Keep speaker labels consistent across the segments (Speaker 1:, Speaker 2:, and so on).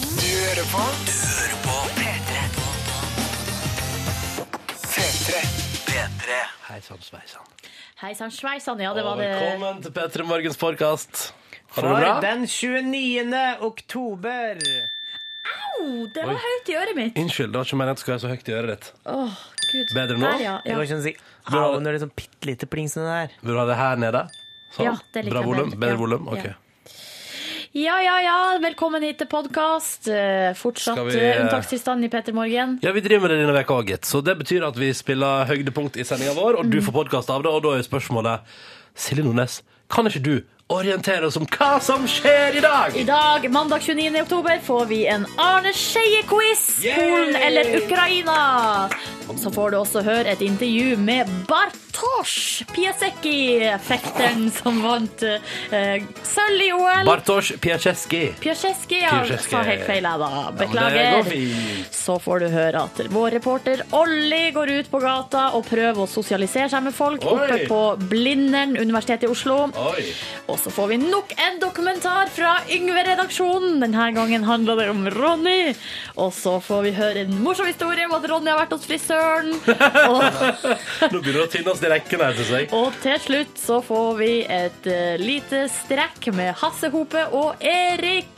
Speaker 1: hører på. Du hører på P3. P3. P3.
Speaker 2: Hei sann, sveisann.
Speaker 3: Hei sann, sveisann. Ja, det var det.
Speaker 2: Velkommen til P3 Morgens podkast. Har du det
Speaker 4: For
Speaker 2: bra?
Speaker 4: den 29. oktober.
Speaker 3: Oh, det var høyt i øret mitt.
Speaker 2: Unnskyld, det var ikke meningen at du skulle være så høyt i øret ditt.
Speaker 3: Åh, Gud.
Speaker 2: Bedre nå?
Speaker 3: Der, ja.
Speaker 4: Det går
Speaker 3: ja.
Speaker 4: ikke an å si
Speaker 2: Bra.
Speaker 4: au når det er sånn bitte lite plings nedi der.
Speaker 2: Vil du ha det her nede? Sånn.
Speaker 3: Ja, det liker
Speaker 2: Bra
Speaker 3: jeg
Speaker 2: volum?
Speaker 3: bedre.
Speaker 2: Bedre
Speaker 3: Ja.
Speaker 2: volum? Ok.
Speaker 3: Ja. ja, ja, ja. Velkommen hit til podkast. Fortsatt
Speaker 2: Skal vi,
Speaker 3: eh,
Speaker 2: eh,
Speaker 3: unntakstilstand i Peter Morgen.
Speaker 2: Ja, vi driver med det denne veka òg, gitt. Så det betyr at vi spiller høydepunkt i sendinga vår, og du
Speaker 3: Mm.
Speaker 2: får podkast av det, og da er spørsmålet Silje Nordnes, kan ikke du orientere oss om hva som skjer i dag?
Speaker 3: I dag, mandag 29. oktober, får vi en Arne Skeie-quiz.
Speaker 2: Yay!
Speaker 3: Polen eller Ukraina? Så får du også høre et intervju med Bartosz Piasecki, fekteren som vant eh, sølv i OL.
Speaker 2: Bartosz Piacheski.
Speaker 3: Piasecki, ja.
Speaker 2: Piasecki.
Speaker 3: Sa helt feil, jeg da.
Speaker 2: Ja, men
Speaker 3: Beklager.
Speaker 2: det går fint.
Speaker 3: Så får du høre at vår reporter Olli går ut på gata og prøver å sosialisere seg med folk
Speaker 2: Oi.
Speaker 3: oppe på Blindern, Universitetet i Oslo.
Speaker 2: Oi.
Speaker 3: Og så får vi nok en dokumentar fra Yngve-redaksjonen. Denne gangen handler det om Ronny. Og så får vi høre en morsom historie om at Ronny har vært hos frisøren. Og,
Speaker 2: Nå begynner det å tynnes i rekken her, syns jeg.
Speaker 3: og til slutt så får vi et eh, lite strekk med Hasse Hope og Erik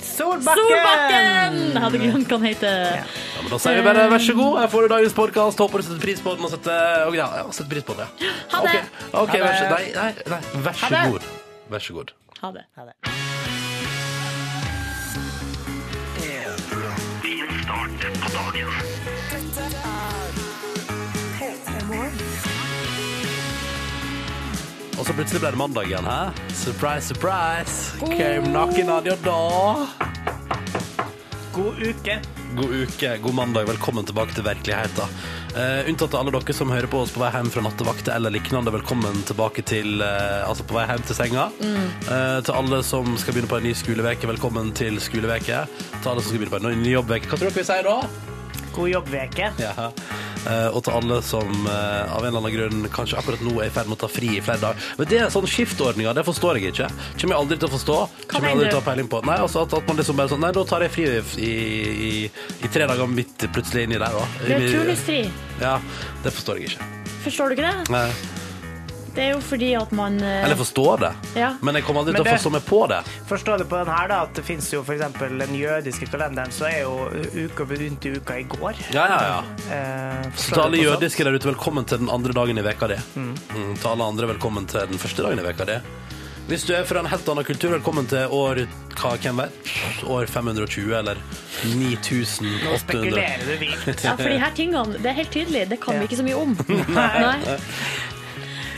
Speaker 4: Solbakken!
Speaker 3: Solbakken! Jeg hadde glemt hva han heter.
Speaker 2: Ja, men da sier vi bare vær så god. Her får du dagens podkast. Håper du setter pris på den. Og setter, og ja, ja, setter pris på den, ja.
Speaker 3: Ha det.
Speaker 2: Ok, ok,
Speaker 4: Ha det.
Speaker 2: vær så, nei, nei, nei, vær så
Speaker 4: Ha det.
Speaker 2: god. Vær så god.
Speaker 3: Ha det.
Speaker 4: Ja, det.
Speaker 2: Og så plutselig ble det mandag igjen. Hæ? Surprise, surprise. Came knocking on your door.
Speaker 4: God uke.
Speaker 2: God uke, god mandag. Velkommen tilbake til virkeligheten. Eh, unntatt til alle dere som hører på oss på vei hjem fra nattevakt eller lignende. Velkommen tilbake til eh, Altså på vei hjem til senga.
Speaker 4: Mm.
Speaker 2: Eh, til alle som skal begynne på en ny skoleveke, velkommen til skoleveke. Til alle som skal begynne på en ny jobbveke. Hva tror dere vi sier da?
Speaker 4: God jobbveke.
Speaker 2: Ja. Eh, og til alle som eh, av en eller annen grunn kanskje akkurat nå er i ferd med å ta fri i flere dager. Men det er sånn skiftordninger, det forstår jeg ikke. Kommer jeg aldri til å forstå. Kommer jeg
Speaker 3: mener
Speaker 2: aldri til
Speaker 3: du?
Speaker 2: å ha peiling på. Nei, altså at, at man liksom bare sånn Nei, da tar jeg fri i, i, i, i tre dager midt plutselig inni der, da.
Speaker 3: Du er turnusfri.
Speaker 2: Ja, det forstår jeg ikke.
Speaker 3: Forstår du ikke det?
Speaker 2: Nei.
Speaker 3: Det er jo fordi at man eh,
Speaker 2: Eller forstår det,
Speaker 3: Ja.
Speaker 2: men jeg kommer aldri
Speaker 4: Men
Speaker 2: til å
Speaker 4: det-
Speaker 2: forstå meg på det.
Speaker 4: Forstå det på den her, da, at det fins jo for eksempel den jødiske kalenderen, så er jo uka begynt i uka i går.
Speaker 2: Ja, ja, ja.
Speaker 4: Eh, forstå
Speaker 2: Så til alle
Speaker 4: det på sånn.
Speaker 2: jødiske der ute, velkommen til den andre dagen i veka di. Mm, til alle andre, velkommen til den første dagen i veka di. Hvis du er fra en helt annen kultur, velkommen til år hva, hvem vet? År 520 eller
Speaker 4: Nå
Speaker 2: 9800.
Speaker 4: spekulerer du vilt.
Speaker 3: Ja, for de her tingene, det er helt tydelig, det kan vi
Speaker 4: Ja.
Speaker 3: ikke så mye om. Nei.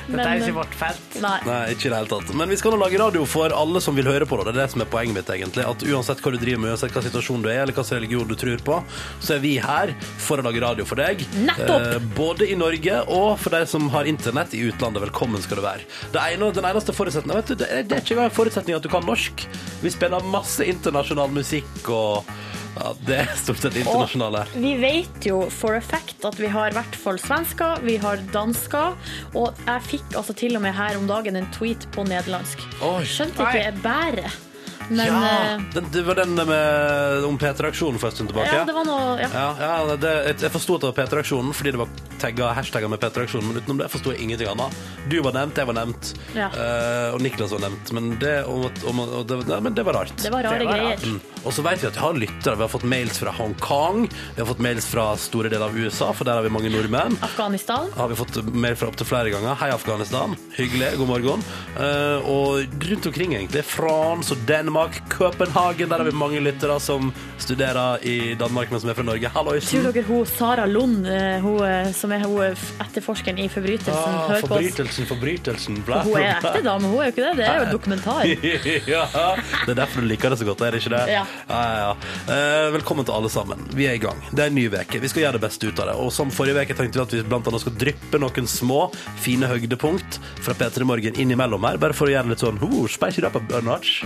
Speaker 4: Dette er jo
Speaker 3: Men,
Speaker 4: ikke vårt felt.
Speaker 3: nei.
Speaker 2: Nei, ikke i det hele tatt. Men vi skal nå lage radio for alle som vil høre på. Da. Det er det som er poenget mitt, egentlig. At uansett hva du driver med, uansett hva situasjon du er, eller hva slags religion du tror på, så er vi her for å lage radio for deg. Eh,
Speaker 3: Nettopp!
Speaker 2: både i Norge og for deg som har internett i utlandet. Velkommen skal du være. Det ene, den eneste forutsetningen vet du, det, er- det er ikke engang en forutsetning at du kan norsk. Vi spiller masse internasjonal musikk og ja, Det er stort sett internasjonale.
Speaker 3: Og vi vet jo for a fact at vi har i hvert fall svensker, vi har dansker, og jeg fikk altså til og med her om dagen en tweet på nederlandsk.
Speaker 2: Oi.
Speaker 3: Skjønte ikke jeg bæret. Men
Speaker 2: Ja!
Speaker 3: eh,
Speaker 2: Den, det var den med, om P3-aksjonen for en stund tilbake.
Speaker 3: ja, det var noe ja.
Speaker 2: Ja, ja det, jeg, jeg forsto at det var P3-aksjonen fordi det var tagga hashtagger med P3-aksjonen, men utenom det forsto jeg ingenting annet. Du var nevnt, jeg var nevnt,
Speaker 3: Ja.
Speaker 2: eh, og Niklas var nevnt. Men det, om, at- om, og det, nei, men det var rart.
Speaker 3: Det var rare
Speaker 4: Det var
Speaker 3: greier.
Speaker 2: Mm. Og så vet vi at vi har lyttere. Vi har fått mails fra Hongkong, vi har fått mails fra store deler av USA, for der har vi mange nordmenn.
Speaker 3: Afghanistan.
Speaker 2: Har vi fått mail fra opptil flere ganger. Hei, Afghanistan. Hyggelig. God morgen. Eh, og rundt omkring, egentlig. France og Danmark, Københagen. Der har vi mange lyttere som studerer i Danmark, men som er fra Norge. Halloisen.
Speaker 3: Tror dere hun Sara Lund, eh, hun, eh, som er hun eh, etterforskeren i Forbrytelsen,
Speaker 2: Ah,
Speaker 3: hører på oss?
Speaker 2: forbrytelsen, forbrytelsen. Bla,
Speaker 3: Hun er
Speaker 2: bla, bla.
Speaker 3: ekte dame, hun er jo ikke det. Det er jo en dokumentar.
Speaker 2: ja, det er derfor du liker det så godt, er det ikke det?
Speaker 3: Ja.
Speaker 2: ja, ja, ja. Eh, velkommen til alle sammen. Vi er i gang. Det er en ny uke. Vi skal gjøre det beste ut av det. Og som forrige uke tenkte vi at vi blant annet skal dryppe noen små, fine høydepunkt fra P3 Morgen innimellom her, bare for å gjøre det litt sånn oh, Spice it up a notch.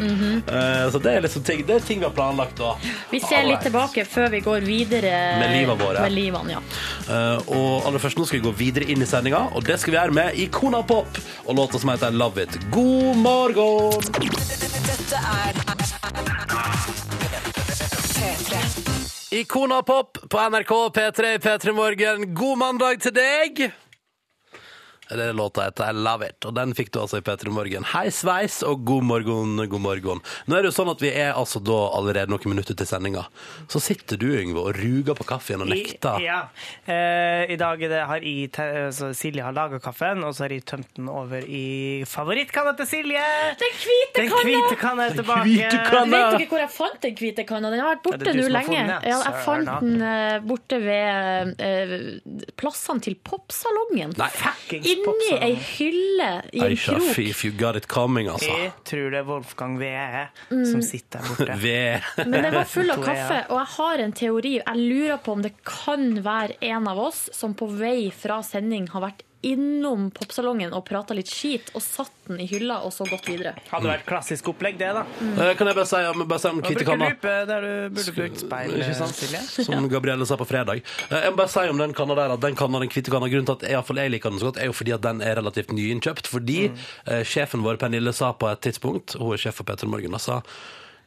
Speaker 2: Eh, så det er liksom ting, det er ting vi har planlagt da.
Speaker 3: Mhm. Vi ser litt
Speaker 2: Alright.
Speaker 3: tilbake før vi går videre
Speaker 2: Med livet våre.
Speaker 3: Med livene, ja.
Speaker 2: Eh, og aller først nå skal vi gå videre inn i sendinga, og det skal vi gjøre med Ikona Pop og låta som heter Love It. God morgen!
Speaker 5: Dette er
Speaker 2: Ikona Pop på NRK P3 i P3 Morgen. God mandag til deg! Det er låta heter I Love It, og den fikk du altså i P3 Morgen. Hei sveis, og god morgen, god morgen. Nå er det jo sånn at vi er altså da allerede noen minutter til sendinga. Så sitter du, Yngve, og ruger på kaffen og nekter.
Speaker 4: I, ja. Eh, I dag er det, har jeg, te- altså, Silje har laga kaffen, og så har jeg tømt den over i favorittkanna til Silje.
Speaker 3: Den hvite
Speaker 4: Den hvite
Speaker 3: kanna!
Speaker 4: kanna er tilbake.
Speaker 2: hvite kanna.
Speaker 3: Vet dere hvor jeg fant den hvite kanna? Den har vært
Speaker 4: Ja, det
Speaker 3: borte
Speaker 4: er du
Speaker 3: nå
Speaker 4: som har
Speaker 3: lenge.
Speaker 4: funnet den, ja.
Speaker 3: Ja, jeg
Speaker 4: Søren, da.
Speaker 3: fant den eh, borte ved eh, plassene til popsalongen.
Speaker 2: Nei.
Speaker 4: Fuckings
Speaker 3: Inni
Speaker 4: popsalong.
Speaker 3: ei hylle i en
Speaker 2: Aisha,
Speaker 3: krok.
Speaker 2: if you got it coming, altså.
Speaker 4: Jeg tror det er Wolfgang Wee E som sitter der borte.
Speaker 2: Ved
Speaker 3: Men den var full av
Speaker 4: Tror jeg,
Speaker 3: kaffe, og jeg har en teori. Jeg lurer på om det kan være en av oss som på vei fra sending har vært innom popsalongen og prata litt skit, og satt den i hylla og så gått videre.
Speaker 4: Hadde vært klassisk opplegg, det, da.
Speaker 2: Eh, Kan jeg bare si om, bare si om
Speaker 4: Du
Speaker 2: hvite
Speaker 4: bruker
Speaker 2: kanna?
Speaker 4: lupe der du burde brukt speil, eh,
Speaker 2: Ikke sant?
Speaker 4: Silje.
Speaker 2: Som Gabrielle sa på fredag. Eh, Jeg må bare si om den kanna der at den kanna, den hvite kanna, grunnen til at jeg, i hvert fall jeg liker den så godt, er jo fordi at den er relativt nyinnkjøpt. Fordi
Speaker 3: Mm.
Speaker 2: eh, sjefen vår, Pernille, sa på et tidspunkt, hun er sjef for Petter Morgen, og sa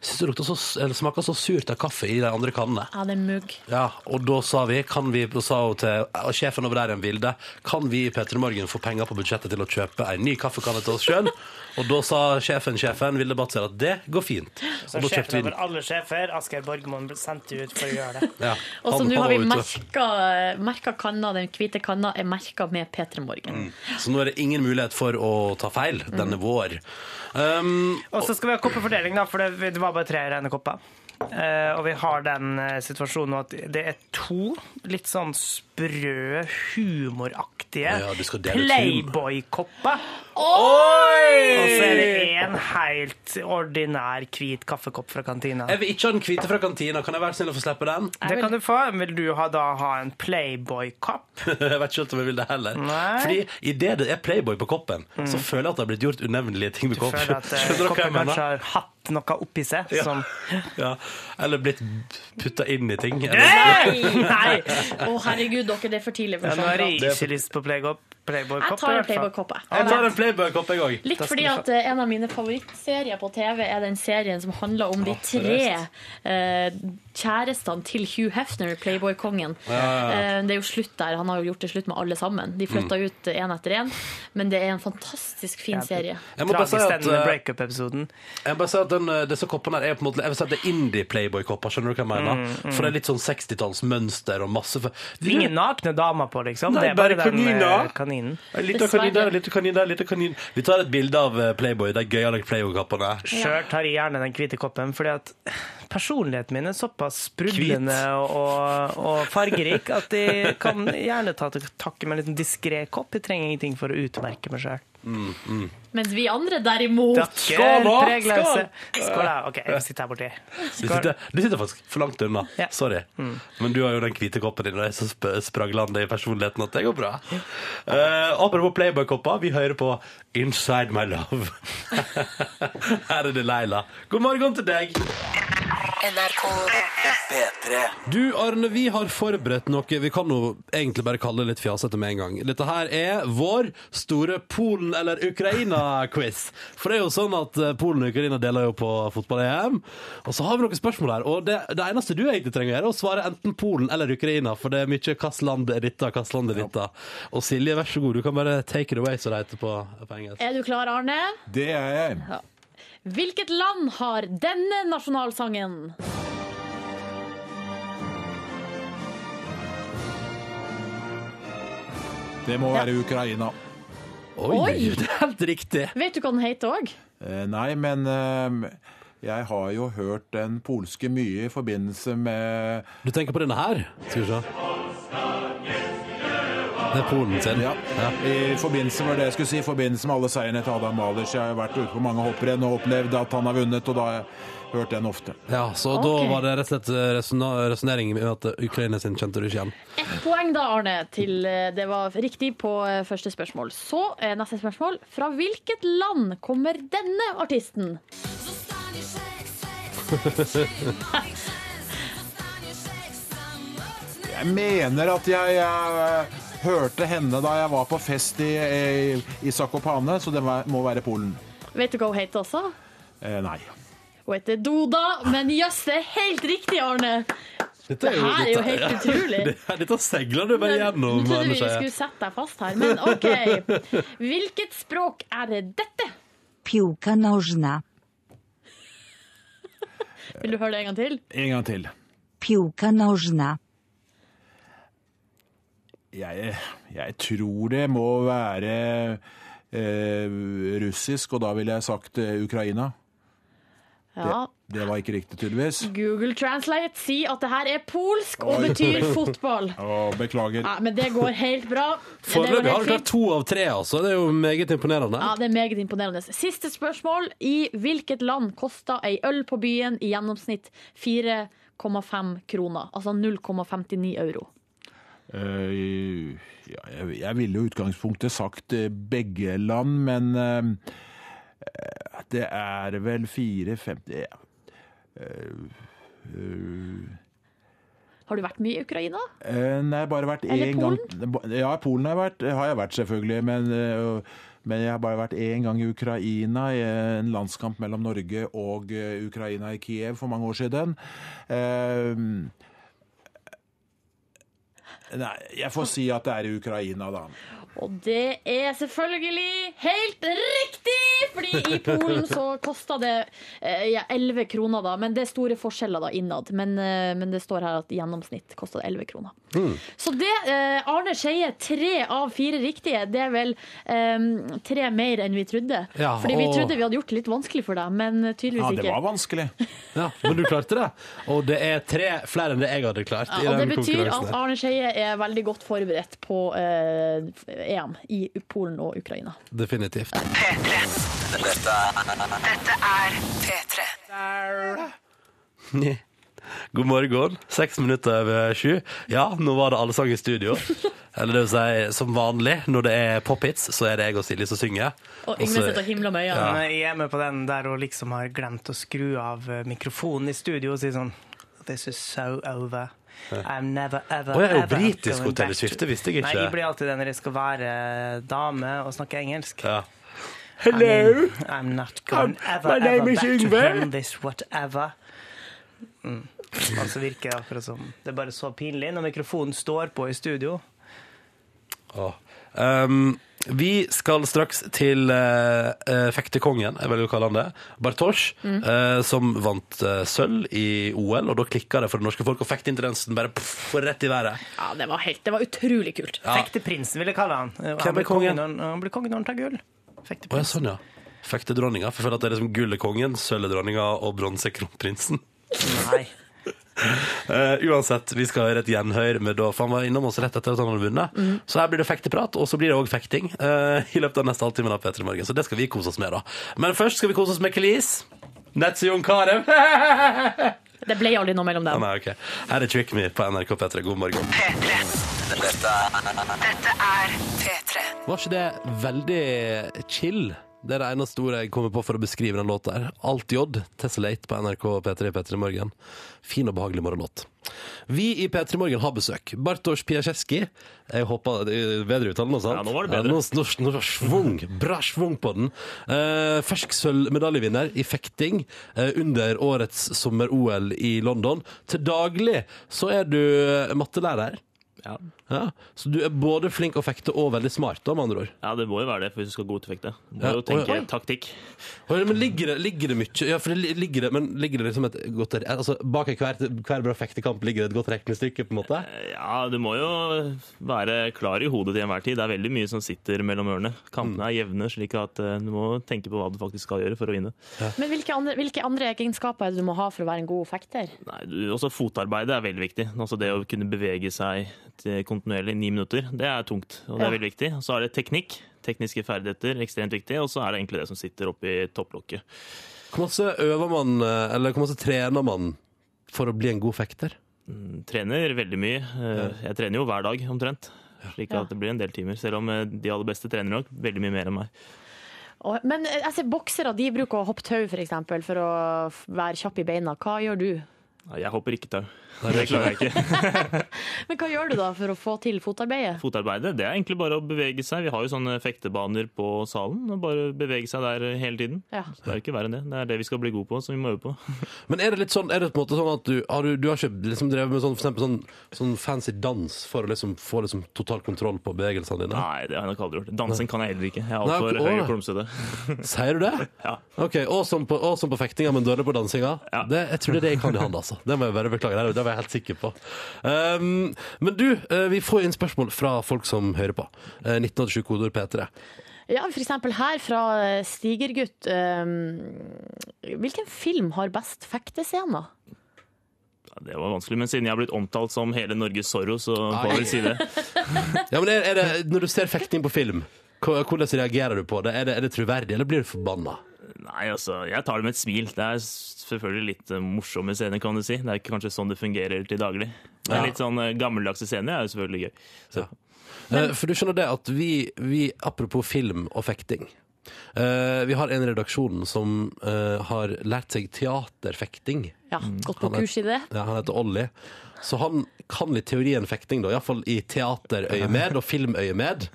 Speaker 2: Syns det lukter så, eller smaker så surt av kaffe i de andre kannene.
Speaker 3: Ja, det er mugg.
Speaker 2: Ja, og da sa vi, kan vi og sa hun til og sjefen over der igjen, Vilde, kan vi i P3 Morgen få penger på budsjettet til å kjøpe en ny kaffekanne til oss sjøl? Og da sa sjefen, sjefen, Vilde Batzer, at det går fint.
Speaker 4: Så
Speaker 2: Og da kjøpte
Speaker 4: sjefen
Speaker 2: vi
Speaker 4: over
Speaker 2: den.
Speaker 4: alle sjefer, Asgeir Borgmoen, ble sendt ut for å gjøre det.
Speaker 2: Ja,
Speaker 3: Og så
Speaker 2: han-
Speaker 3: nå
Speaker 2: han
Speaker 3: har vi
Speaker 2: var ute.
Speaker 3: merka, merka kanna, den hvite kanna er merka med P3 Morgen.
Speaker 2: Mm. Så nå er det ingen mulighet for å ta feil
Speaker 4: Mm.
Speaker 2: denne vår. Um,
Speaker 4: Og så skal vi ha koppefordeling, da, for det, det var bare tre rene kopper. Eh, og vi har den eh, situasjonen nå at det er to litt sånn sprø, humoraktige
Speaker 2: Ja, du skal dele ut humor.
Speaker 4: Playboy-kopper. Og så er det en helt ordinær hvit kaffekopp fra kantina.
Speaker 2: jeg vil ikke ha den hvite fra kantina. Kan jeg være snill å få slippe den?
Speaker 4: Det kan du få. Vil du ha, da ha en Playboy-kopp?
Speaker 2: Jeg vet ikke helt om jeg vil det heller.
Speaker 4: Nei. Mm.
Speaker 2: Fordi idet det er Playboy på koppen, så føler jeg at det har blitt gjort unevnelige ting med koppen.
Speaker 4: Føler at eh,
Speaker 2: Skjønner dere hva jeg
Speaker 4: koppen
Speaker 2: mener?
Speaker 4: kanskje har hatt noe oppi seg
Speaker 2: Ja.
Speaker 4: som
Speaker 2: ja. Eller blitt putta inn i ting. Eller,
Speaker 4: Nei! Nei!
Speaker 3: Å, herregud, dere, det er for tidlig
Speaker 4: Ja,
Speaker 3: for
Speaker 4: nå har
Speaker 3: sånn.
Speaker 4: jeg ikke lyst på Playboy-kopp.
Speaker 3: Jeg tar en Playboy-kopp, jeg.
Speaker 2: jeg tar en Playboy-kopp, jeg òg.
Speaker 3: Litt
Speaker 4: Da skal
Speaker 3: fordi
Speaker 4: du få-
Speaker 3: at eh, en av mine favorittserier på TV er den serien som handler om de tre eh, kjærestene til Hugh Hefner, Playboy-kongen. Eh, det er jo slutt der. Han har jo gjort det slutt med alle sammen. De flytta
Speaker 2: Mm.
Speaker 3: ut én etter én. Men det er en fantastisk fin serie.
Speaker 2: Jeg må bare si at,
Speaker 4: denne
Speaker 2: eh,
Speaker 4: breakup-episoden.
Speaker 2: Jeg bare sier at den, eh, disse koppene her er på en måte Jeg vil si at det er indie-playboy-kopper, skjønner du hva jeg mener? For det er litt sånn 60-tallsmønster og masse
Speaker 4: Mm, Det er Ingen nakne damer på, liksom.
Speaker 2: Nei,
Speaker 4: det er bare,
Speaker 2: bare
Speaker 4: den
Speaker 2: kaniner.
Speaker 4: eh, kaninen.
Speaker 2: En liten
Speaker 3: Dessverre.
Speaker 2: kanin der, en liten kanin der, en liten kanin Vi tar et bilde av eh, Playboy, de gøyale Playboy-kappene.
Speaker 4: Sjøl tar jeg gjerne den hvite koppen, fordi at personligheten min er såpass sprudlende og, og fargerik at jeg kan gjerne ta til takke med en liten diskré kopp. Jeg trenger ingenting for å utmerke meg sjøl.
Speaker 2: Mm,
Speaker 3: Mens vi andre derimot
Speaker 2: Skål, da!
Speaker 4: Skål! Skål, da. OK, jeg sitter her borti.
Speaker 2: Du sitter, du sitter faktisk for langt unna.
Speaker 4: Ja.
Speaker 2: Sorry. Men du har jo den hvite koppen din, og jeg er så sp spraglande i personligheten at det går bra. Eh, apropos Playboy-kopper, vi hører på Inside My Love. Her er det Leila. God morgen til deg.
Speaker 5: NRK
Speaker 1: P3
Speaker 2: Du, Arne, vi har forberedt noe vi kan jo egentlig bare kalle det litt fjasete med en gang. Dette her er vår store Polen- eller Ukraina-quiz. For det er jo sånn at eh, Polen og Ukraina deler jo på fotball-EM. Og så har vi noen spørsmål her. Og det, det eneste du egentlig trenger å gjøre, er å svare enten Polen eller Ukraina. For det er mye hvilket land er dette, hvilket land er dette. Og Silje, vær så god, du kan bare take it away, som det heter på, på engelsk.
Speaker 3: Er du klar, Arne?
Speaker 6: Det er jeg.
Speaker 3: Hvilket land har denne nasjonalsangen?
Speaker 6: Det må være Ukraina.
Speaker 2: Oi,
Speaker 3: Oi!
Speaker 2: Det er helt riktig!
Speaker 3: Vet du hva den heter òg?
Speaker 6: Eh, Nei, men eh, jeg har jo hørt den polske mye i forbindelse med
Speaker 2: Du tenker på denne her? Skal vi se. Det er Polen sin.
Speaker 6: Ja, i forbindelse med det jeg skulle si, i forbindelse med alle seirene til Adam Mahlers. Jeg har jo vært ute på mange hopprenn og opplevd at han har vunnet, og da har jeg hørt den ofte.
Speaker 2: Ja, så
Speaker 3: Ok.
Speaker 2: da var det rett og slett resona- resonering med at Ukraina sin kjente du ikke igjen.
Speaker 3: Ett poeng da, Arne, til eh, det var riktig på eh, første spørsmål. Så eh, neste spørsmål. Fra hvilket land kommer denne artisten?
Speaker 6: Jeg mener at jeg, eh, hørte henne da jeg var på fest i, eh, i Zakopane, så det var- må være Polen.
Speaker 3: Vet du hva hun heter også?
Speaker 6: Eh, nei.
Speaker 3: Hun heter Doda, men jøss, det er helt riktig, Arne!
Speaker 2: Dette
Speaker 3: Det her er jo helt
Speaker 2: dette-
Speaker 3: utrolig.
Speaker 2: Dette- Dette segler du bare gjennom.
Speaker 3: Jeg trodde vi
Speaker 2: Anders Eie.
Speaker 3: skulle sette deg fast her, men OK. Hvilket språk er dette?
Speaker 7: Piłka nożna.
Speaker 3: Vil du høre det en gang til?
Speaker 6: En gang til.
Speaker 7: Piłka nożna.
Speaker 6: Jeg, jeg tror det må være eh, russisk, og da ville jeg sagt eh, Ukraina.
Speaker 3: Ja.
Speaker 6: Det var ikke riktig, tydeligvis.
Speaker 3: Google Translate sier at det her er polsk og betyr fotball.
Speaker 6: Å, beklager.
Speaker 3: Ja, men det går helt bra. Det går
Speaker 2: Foreløpig har
Speaker 3: helt
Speaker 2: du klart
Speaker 3: fint.
Speaker 2: to av tre, altså. Det er jo meget imponerende.
Speaker 3: Ja, det er meget imponerende. Siste spørsmål. I hvilket land kosta ei øl på byen i gjennomsnitt 4,5 kroner? Altså 0,59 euro.
Speaker 6: Eh, ja, jeg, jeg ville jo i utgangspunktet sagt eh, begge land, men eh, det er vel 4-50 ja. Eh,
Speaker 3: Har du vært mye i Ukraina?
Speaker 6: Eh, Nei, bare vært
Speaker 3: Eller
Speaker 6: én gang Ja, Polen har jeg vært, har jeg vært selvfølgelig. Men, eh, men jeg har bare vært én gang i Ukraina, i en landskamp mellom Norge og eh, Ukraina i Kiev for mange år siden. Eh, Nei, jeg får si at det er i Ukraina, da.
Speaker 3: Og det er selvfølgelig helt riktig! Fordi i Polen så kosta det eh, ja, 11 kroner, da. Men det er store forskjeller da innad. Men, eh, men det står her at i gjennomsnitt kosta det 11 kroner. Så det eh, Arne Skeie, tre av fire riktige, det er vel eh, tre mer enn vi trodde.
Speaker 2: Ja,
Speaker 3: fordi vi
Speaker 2: og-
Speaker 3: trodde vi hadde gjort det litt vanskelig for deg, men tydeligvis
Speaker 6: Ja, det
Speaker 3: ikke.
Speaker 6: var vanskelig.
Speaker 2: Ja, men du klarte det. Og det er tre flere enn det jeg hadde klart. i
Speaker 3: Ja, og det
Speaker 2: den
Speaker 3: betyr
Speaker 2: konkurransen
Speaker 3: at
Speaker 2: her.
Speaker 3: Arne Skeie er veldig godt forberedt på eh, EM i Polen og Ukraina.
Speaker 2: Definitivt.
Speaker 5: Dette er P3.
Speaker 2: Nje. God morgen. Seks minutter over sju. Ja, nå var det allsang i studio. Eller det vil si, som vanlig, når det er pophits, så er det jeg og Silje som synger.
Speaker 3: Og Yngve
Speaker 2: så-
Speaker 3: sitter og himler med øynene.
Speaker 4: Men Jeg er med på den der hun liksom har glemt å skru av eh, mikrofonen i studio og si sånn This is so over. I'm never, ever,
Speaker 2: Å, jeg er jo
Speaker 4: ever
Speaker 2: britisk,
Speaker 4: going
Speaker 2: hun Taylor
Speaker 4: back
Speaker 2: Swift,
Speaker 4: to-"
Speaker 2: det visste jeg ikke.
Speaker 4: Nei, jeg blir alltid den når jeg skal være eh, dame og snakke engelsk.
Speaker 2: Ja.
Speaker 4: Hello! I'm not going ever,
Speaker 2: my name
Speaker 4: ever
Speaker 2: is
Speaker 4: back to
Speaker 2: Yngve.
Speaker 4: him this whatever. Mm. Altså virker det akkurat som Det er bare så pinlig når mikrofonen står på i studio.
Speaker 2: Åh. Um, vi skal straks til eh, eh, fektekongen, jeg velger å kalle han det, Bartosz, eh, som vant eh, sølv i OL, og da klikka det for det norske folk, og fekteintendensen bare puff, rett i været.
Speaker 3: Ja, det var, helt, det var utrolig kult.
Speaker 4: Fekteprinsen, vil jeg kalle han. Han
Speaker 2: Hvem er
Speaker 4: blir
Speaker 2: kongen?
Speaker 4: kongen når han blir kongen når han tar gull.
Speaker 2: Å ja,
Speaker 4: Fekteprinsen.
Speaker 2: sånn, ja. Fektedronninga. For jeg føler at det er liksom gull er kongen, sølv er dronninga og bronse er kronprinsen.
Speaker 4: Nei.
Speaker 2: Eh, uansett, vi skal høre et gjenhør med da, for han var innom oss rett etter at han hadde vunnet. Så her blir det fekteprat, og så blir det òg fekting eh, i løpet av neste halvtime av P3 Morgen. Så det skal vi kose oss med, da. Men først skal vi kose oss med Kelis. Nets og Jon Carew.
Speaker 3: Det ble aldri noe mellom
Speaker 2: Ah,
Speaker 3: dem.
Speaker 2: Nei, ok. Her er Trick Me på NRK P3. God morgen.
Speaker 5: P3. Dette er P3.
Speaker 2: Var ikke det veldig chill? Det er det eneste ordet jeg kommer på for å beskrive den låta her. Alt J, Tessellate på NRK P3 P3 Morgen. Fin og behagelig morgenlåt. Vi i P3 Morgen har besøk. Bartosz Piasecki. Jeg håper det er bedre uttalen, sant?
Speaker 8: Ja, nå var det bedre.
Speaker 2: nå, nå, nå, var det svung, bra svung på den. Eh, fersk sølvmedaljevinner i fekting eh, under årets sommer-OL i London. Til daglig så er du mattelærer.
Speaker 8: Ja.
Speaker 2: Ja, så du er både flink å fekte og veldig smart, da, med andre ord.
Speaker 8: ja, det må jo være det, for hvis du skal ha god effekt. da.
Speaker 2: Ja,
Speaker 8: Du må jo
Speaker 2: oi,
Speaker 8: tenke
Speaker 2: oi.
Speaker 8: taktikk.
Speaker 2: Oi, Men ligger det, ligger det mye Ja, for det li- ligger det, men ligger det liksom et godt altså, Bak hver, hver bra fektekamp ligger det et godt regnestykke, på en måte?
Speaker 8: Eh, Ja, du må jo være klar i hodet til enhver tid. Det er veldig mye som sitter mellom ørene. Kampene er jevne, slik at eh, du må tenke på hva du faktisk skal gjøre for å vinne.
Speaker 3: Men hvilke andre, hvilke andre egenskaper er det du må ha for å være en god fekter?
Speaker 8: Nei, du, også fotarbeidet er veldig viktig. Altså det å kunne bevege seg til kontinuerlig i ni minutter, det er tungt. Og det
Speaker 3: Ja.
Speaker 8: er veldig viktig. Så er det teknikk. Tekniske ferdigheter, ekstremt viktig. Og så er det egentlig det som sitter oppi topplokket.
Speaker 2: Hvor masse øver man, eh, eller hvor masse trener man for å bli en god fekter?
Speaker 8: Mm, Trener veldig mye. Eh, Jeg trener jo hver dag, omtrent. Slik at det blir en del timer. Selv om eh, de aller beste trener nok veldig mye mer enn meg.
Speaker 3: Og, men eh, jeg ser boksere de bruker å hoppe tau, for eksempel, for å f- være kjapp i beina. Hva gjør du?
Speaker 8: Nei, Jeg hopper ikke tau. Det klarer jeg ikke.
Speaker 3: Men hva gjør du da for å få til fotarbeidet?
Speaker 8: Fotarbeidet det er egentlig bare å bevege seg. Vi har jo sånne fektebaner på salen. og Bare bevege seg der hele tiden.
Speaker 3: Ja.
Speaker 8: Så det er jo ikke verre enn det. Det er det vi skal bli gode på, som vi må øve på.
Speaker 2: Men er det litt sånn, er det på en måte sånn at du har, du, du har ikke liksom drevet med sånn, for eksempel sånn, sånn fancy dans for å liksom få liksom total kontroll på bevegelsene dine?
Speaker 8: Nei, det har jeg nok aldri gjort. Dansen kan jeg heller ikke. Jeg er
Speaker 2: Nei,
Speaker 8: altfor
Speaker 2: å,
Speaker 8: høy
Speaker 2: nei.
Speaker 8: og klumsete.
Speaker 2: Sier du det?
Speaker 8: Ja.
Speaker 2: Ok, Og som på, og som på fektinga, men dårlig på dansinga?
Speaker 8: Ja.
Speaker 2: Det, jeg tror det er det jeg kan i hand, altså. Det må jeg bare beklage. Det, det var jeg helt sikker på. Um, men du, eh, vi får inn spørsmål fra folk som hører på. Eh, 1987 kodeord P3.
Speaker 3: Ja, for eksempel her fra eh, Stigergutt. eh, Hvilken film har best fektescener?
Speaker 8: Ja, det var vanskelig, men siden jeg har blitt omtalt som hele Norges Zorro, så får jeg vel si det.
Speaker 2: Ja, men er, er det, Når du ser fekting på film, hva- hvordan reagerer du på det? Er det, er det troverdig, eller blir du forbanna?
Speaker 8: Nei, altså, jeg tar det med et smil. Det er selvfølgelig litt eh, morsomme scener, kan du si. Det er ikke kanskje sånn det fungerer til daglig. Men
Speaker 2: Ja.
Speaker 8: litt sånn eh, gammeldagse scener er jo selvfølgelig gøy. Så,
Speaker 2: Eh, For du skjønner det at vi, vi apropos film og fekting eh, Vi har en i redaksjonen som eh, har lært seg teaterfekting. Mm.
Speaker 3: Ja, gått på
Speaker 2: Han er-
Speaker 3: kurs i det.
Speaker 2: Ja, han heter Olli. Så han kan litt teorien fekting, da. Iallfall i teaterøyemed og filmøyemed.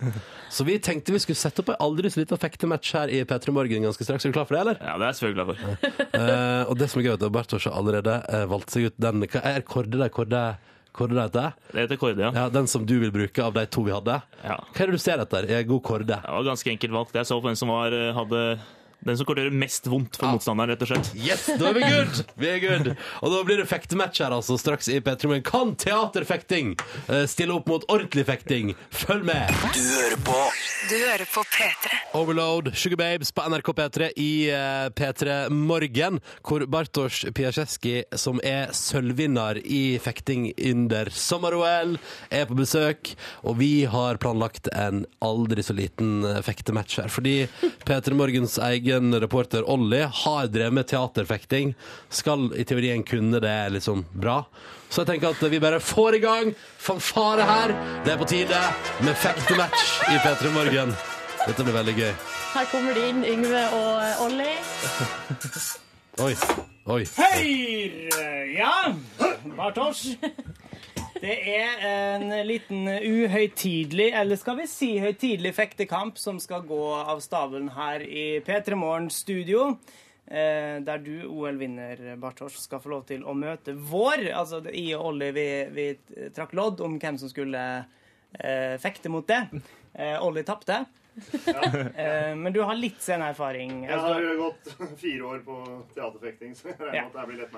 Speaker 2: Så vi tenkte vi skulle sette opp ei aldri så lita fektematch her i P3 Morgen ganske straks. Er du klar for det, eller?
Speaker 8: Ja, det er jeg selvfølgelig glad for.
Speaker 2: Eh, og det som er gøy, er at Bartosz har allerede eh, valgt seg ut den Hva er Kårde det Kårde Kårde det heter?
Speaker 8: Det heter Kårde, ja.
Speaker 2: Ja, den som du vil bruke av de to vi hadde.
Speaker 8: Ja.
Speaker 2: Hva er det du ser etter? Er god Kårde?
Speaker 8: Det var ganske enkelt valgt. Jeg så på den som var, eh, hadde den som kunne gjøre mest vondt for motstanderen, rett og slett.
Speaker 2: Yes, da er vi good! Vi er good. Og da blir det fektematch her, altså, straks i P3 Morgen. Kan teaterfekting eh, stille opp mot ordentlig fekting? Følg med!
Speaker 1: Du hører på
Speaker 5: Du hører på P3.
Speaker 2: Overload, Sugar Babes på NRK P3 i eh, P3 Morgen, hvor Bartosz Piaszeski, som er sølvvinner i fekting under sommer-OL, er på besøk. Og vi har planlagt en aldri så liten eh, fektematch her. Fordi P3 Morgens egen reporter Olli har drevet med teaterfekting. Skal i teorien kunne det liksom bra. Så jeg tenker at vi bare får i gang. Fanfare her. Det er på tide med fektematch i P3 Morgen. Dette blir veldig gøy.
Speaker 3: Her kommer de inn, Yngve og eh, Olli.
Speaker 2: Oi. Oi.
Speaker 4: Høyre, ja. Bartosz. Det er en liten uhøytidelig, eller skal vi si høytidelig fektekamp som skal gå av stabelen her i P3 Morgens studio. eh, Der du, OL-vinner Bartosz, skal få lov til å møte vår. Altså det- jeg og Olli, vi, vi trakk lodd om hvem som skulle eh, fekte mot det. Eh, Olli tapte. Eh, men du har litt sen erfaring.
Speaker 9: Jeg
Speaker 4: Altså,
Speaker 9: har jo gått fire år på teaterfekting, så jeg regner med at det her blir lett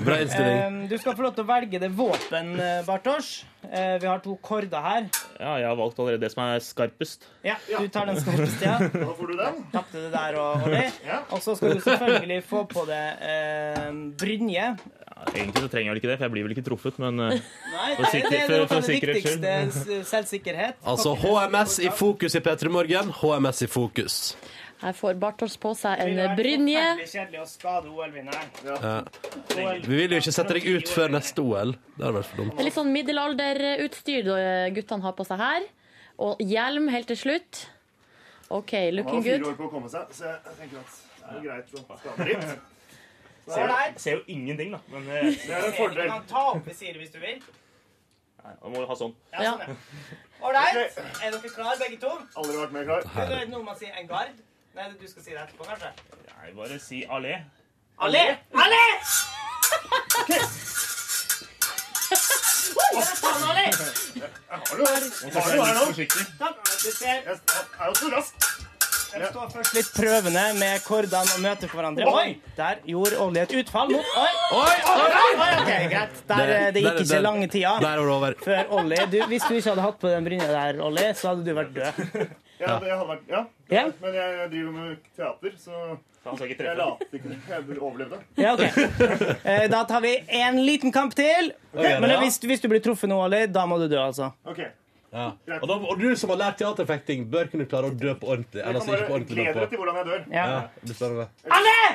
Speaker 9: match.
Speaker 2: Bra innstilling.
Speaker 4: Um, Du skal få lov til å velge det våpen, eh, Bartosz. Eh, Vi har to korder her.
Speaker 8: Ja, jeg har valgt allerede det som er skarpest.
Speaker 4: Ja, Du tar den skarpeste. Ja.
Speaker 9: Da får du den.
Speaker 4: Tapte det der og, og det. Og så skal du selvfølgelig få på det eh, brynje.
Speaker 8: Ja, egentlig så trenger jeg vel ikke det, for jeg blir vel ikke truffet, men eh,
Speaker 4: Nei,
Speaker 8: For
Speaker 4: det,
Speaker 8: sikkerhet-
Speaker 4: det er
Speaker 8: for-
Speaker 4: noe av
Speaker 8: for
Speaker 4: det
Speaker 8: sikkerhets skyld.
Speaker 4: viktigste. s- Selvsikkerhet.
Speaker 2: Altså HMS i fokus i P3 Morgen. HMS i fokus.
Speaker 3: Her får Bartosz på seg en eh,
Speaker 4: Det
Speaker 3: brynje.
Speaker 4: er forferdelig kjedelig å skade OL-vinneren.
Speaker 2: Eh, Vi vil jo ikke sette deg ut før neste OL. Det hadde vært for dumt.
Speaker 3: Det er litt sånn middelalderutstyr da, eh, guttene har på seg her. Og hjelm helt til slutt. OK,
Speaker 9: Han har
Speaker 3: looking good.
Speaker 9: fire år på å komme seg, så jeg tenker at det er jo greit å skade litt.
Speaker 8: ser, ser jo ingenting, da. Men eh,
Speaker 9: Det er en
Speaker 4: Du
Speaker 9: fordel.
Speaker 4: kan ta opp ved siden hvis du vil.
Speaker 8: nei, man må jo ha sånn.
Speaker 3: Ja.
Speaker 4: Ålreit. Er dere klare, begge to?
Speaker 9: Aldri vært mer klar.
Speaker 4: Det er noe man sier en gard. Nei, du skal si det etterpå, kanskje.
Speaker 8: Nei, bare si allé.
Speaker 4: Allé! Allé!
Speaker 9: Har du Har du her nå?
Speaker 4: Du ser
Speaker 9: Jeg er jo så rask.
Speaker 4: Jeg står først litt prøvende med kordene og møter hverandre. Oi! Der gjorde Olli et utfall mot Oi!
Speaker 2: Oi! oi.
Speaker 4: Oi, oi, ok, greit. Der, eh, det
Speaker 2: Der-
Speaker 4: gikk ikke
Speaker 2: der-
Speaker 4: lange tida
Speaker 2: Der var det over.
Speaker 4: før Olli du, Hvis du ikke hadde hatt på den brynja der, Olli, så hadde du vært død.
Speaker 9: Ja, det hadde vært Ja.
Speaker 4: Ja,
Speaker 9: Men jeg driver med teater, så
Speaker 8: Han skal ikke
Speaker 9: jeg
Speaker 8: treffe.
Speaker 9: later ikke. Jeg overlevde.
Speaker 4: ja ok. Eh, Da tar vi en liten kamp til. Men hvis, hvis du blir truffet nå, Olli, da må du dø, altså.
Speaker 9: OK.
Speaker 2: Og, da, og du som har lært teaterfekting, bør kunne klare å dø på ordentlig.
Speaker 9: Jeg
Speaker 2: Ellers
Speaker 9: kan
Speaker 2: ikke på
Speaker 9: bare
Speaker 2: ordentlig,
Speaker 9: glede deg
Speaker 2: men på.
Speaker 9: til hvordan jeg dør.
Speaker 4: Ja.
Speaker 2: Ja, det blir spennende.
Speaker 4: Alle!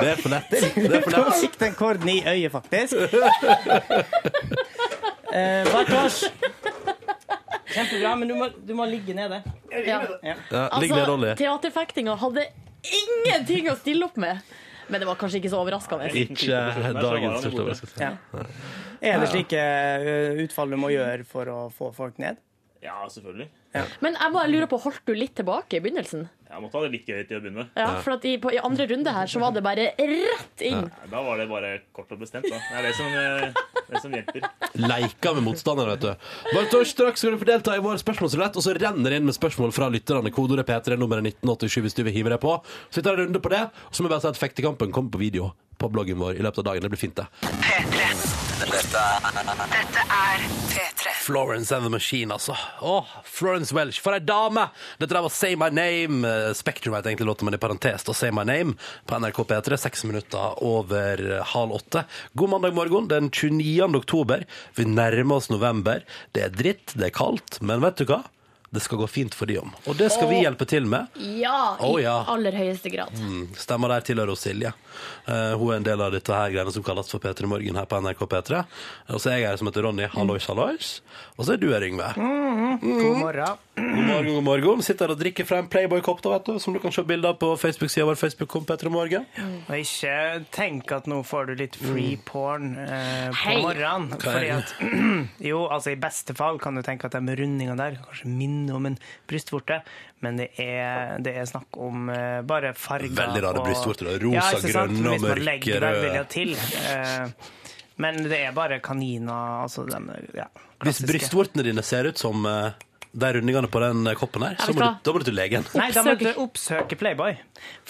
Speaker 2: Det er for lett. Det er for
Speaker 4: Prøv å
Speaker 2: lett.
Speaker 4: sikte den korden i øyet, faktisk. Eh, Bartosz. Kjempebra, men du må, du må ligge nede.
Speaker 3: Ja.
Speaker 2: Ja, ligg ned,
Speaker 3: Altså,
Speaker 2: Olli.
Speaker 3: teaterfektinga hadde ingenting å stille opp med. Men det var kanskje ikke så overraskende.
Speaker 2: Ikke dagens største overraskelse.
Speaker 10: Ja. Er det slike eh, utfall du må gjøre for å få folk ned?
Speaker 8: Ja, selvfølgelig.
Speaker 3: Men jeg bare lurer på, holdt du litt tilbake i begynnelsen?
Speaker 8: Jeg måtte ha det litt gøy til å begynne med.
Speaker 3: Ja, for at i, på, i andre runde her så var det bare rett inn.
Speaker 8: Da var det bare kort og bestemt. Da. Det er det som, eh, det som hjelper.
Speaker 2: Leika med motstanderen, vet du. Bartosz, straks skal du få delta i vår spørsmålsrulett, og så renner det inn med spørsmål fra lytterne. Kodeordet P3, nummeret 1987, hvis du vil hive deg på. Så vi tar en runde på det, og så må vi bare si at fektekampen kommer på video på bloggen vår i løpet av dagen. Det blir fint, det.
Speaker 5: P3. Dette er P3.
Speaker 2: Florence and the Machine, altså. Åh, Florence Welch, for ei dame! Dette der var Say My Name. eh, Spektrum heter egentlig låta, men i parentes da Say My Name på NRK P3. Seks minutter over eh, halv åtte. God mandag morgen, den 29. oktober. Vi nærmer oss november. Det er dritt, det er kaldt, men vet du hva? Det skal gå fint for de om. Og det skal vi hjelpe til med.
Speaker 3: Ja, i
Speaker 2: Å, ja.
Speaker 3: aller høyeste grad.
Speaker 2: Stemmer der tilhører hos Silje. Eh, hun er en del av dette her greiene som kalles for P3 Morgen her på NRK P3. Og så er jeg her som heter Ronny. Hallois, hallois. Og så er du her, Yngve.
Speaker 11: Mm-hmm.
Speaker 3: Mm.
Speaker 4: God morgen.
Speaker 2: God morgen, god morgen. Sitter her og drikker fra en Playboy-kopp, da, vet du, som du kan se bilder av på Facebook-sida vår. Facebook Petra Morgen.
Speaker 4: Og ikke tenk at nå får du litt free
Speaker 10: Mm.
Speaker 4: porn eh, på
Speaker 3: Hei.
Speaker 4: morgenen. Fordi at, jo, altså I beste fall kan du tenke at de rundingene der kanskje minner om en brystvorte, men det er, det er snakk om eh, bare farger.
Speaker 2: Veldig rare
Speaker 4: og-
Speaker 2: brystvorter, da. Rosa,
Speaker 4: ikke sant?
Speaker 2: grønne og
Speaker 4: Hvis man
Speaker 2: mørke
Speaker 4: legger
Speaker 2: røde.
Speaker 4: velvilja til. Eh, men det er bare kaniner. Altså, de, ja,
Speaker 2: Hvis
Speaker 4: klassiske.
Speaker 2: brystvortene dine ser ut som eh, de rundingene på den eh, koppen her, så
Speaker 3: vet
Speaker 2: må
Speaker 3: hva.
Speaker 2: du, da må du til legen.
Speaker 4: Nei, da må du
Speaker 3: Oppsøker-
Speaker 4: oppsøke Playboy,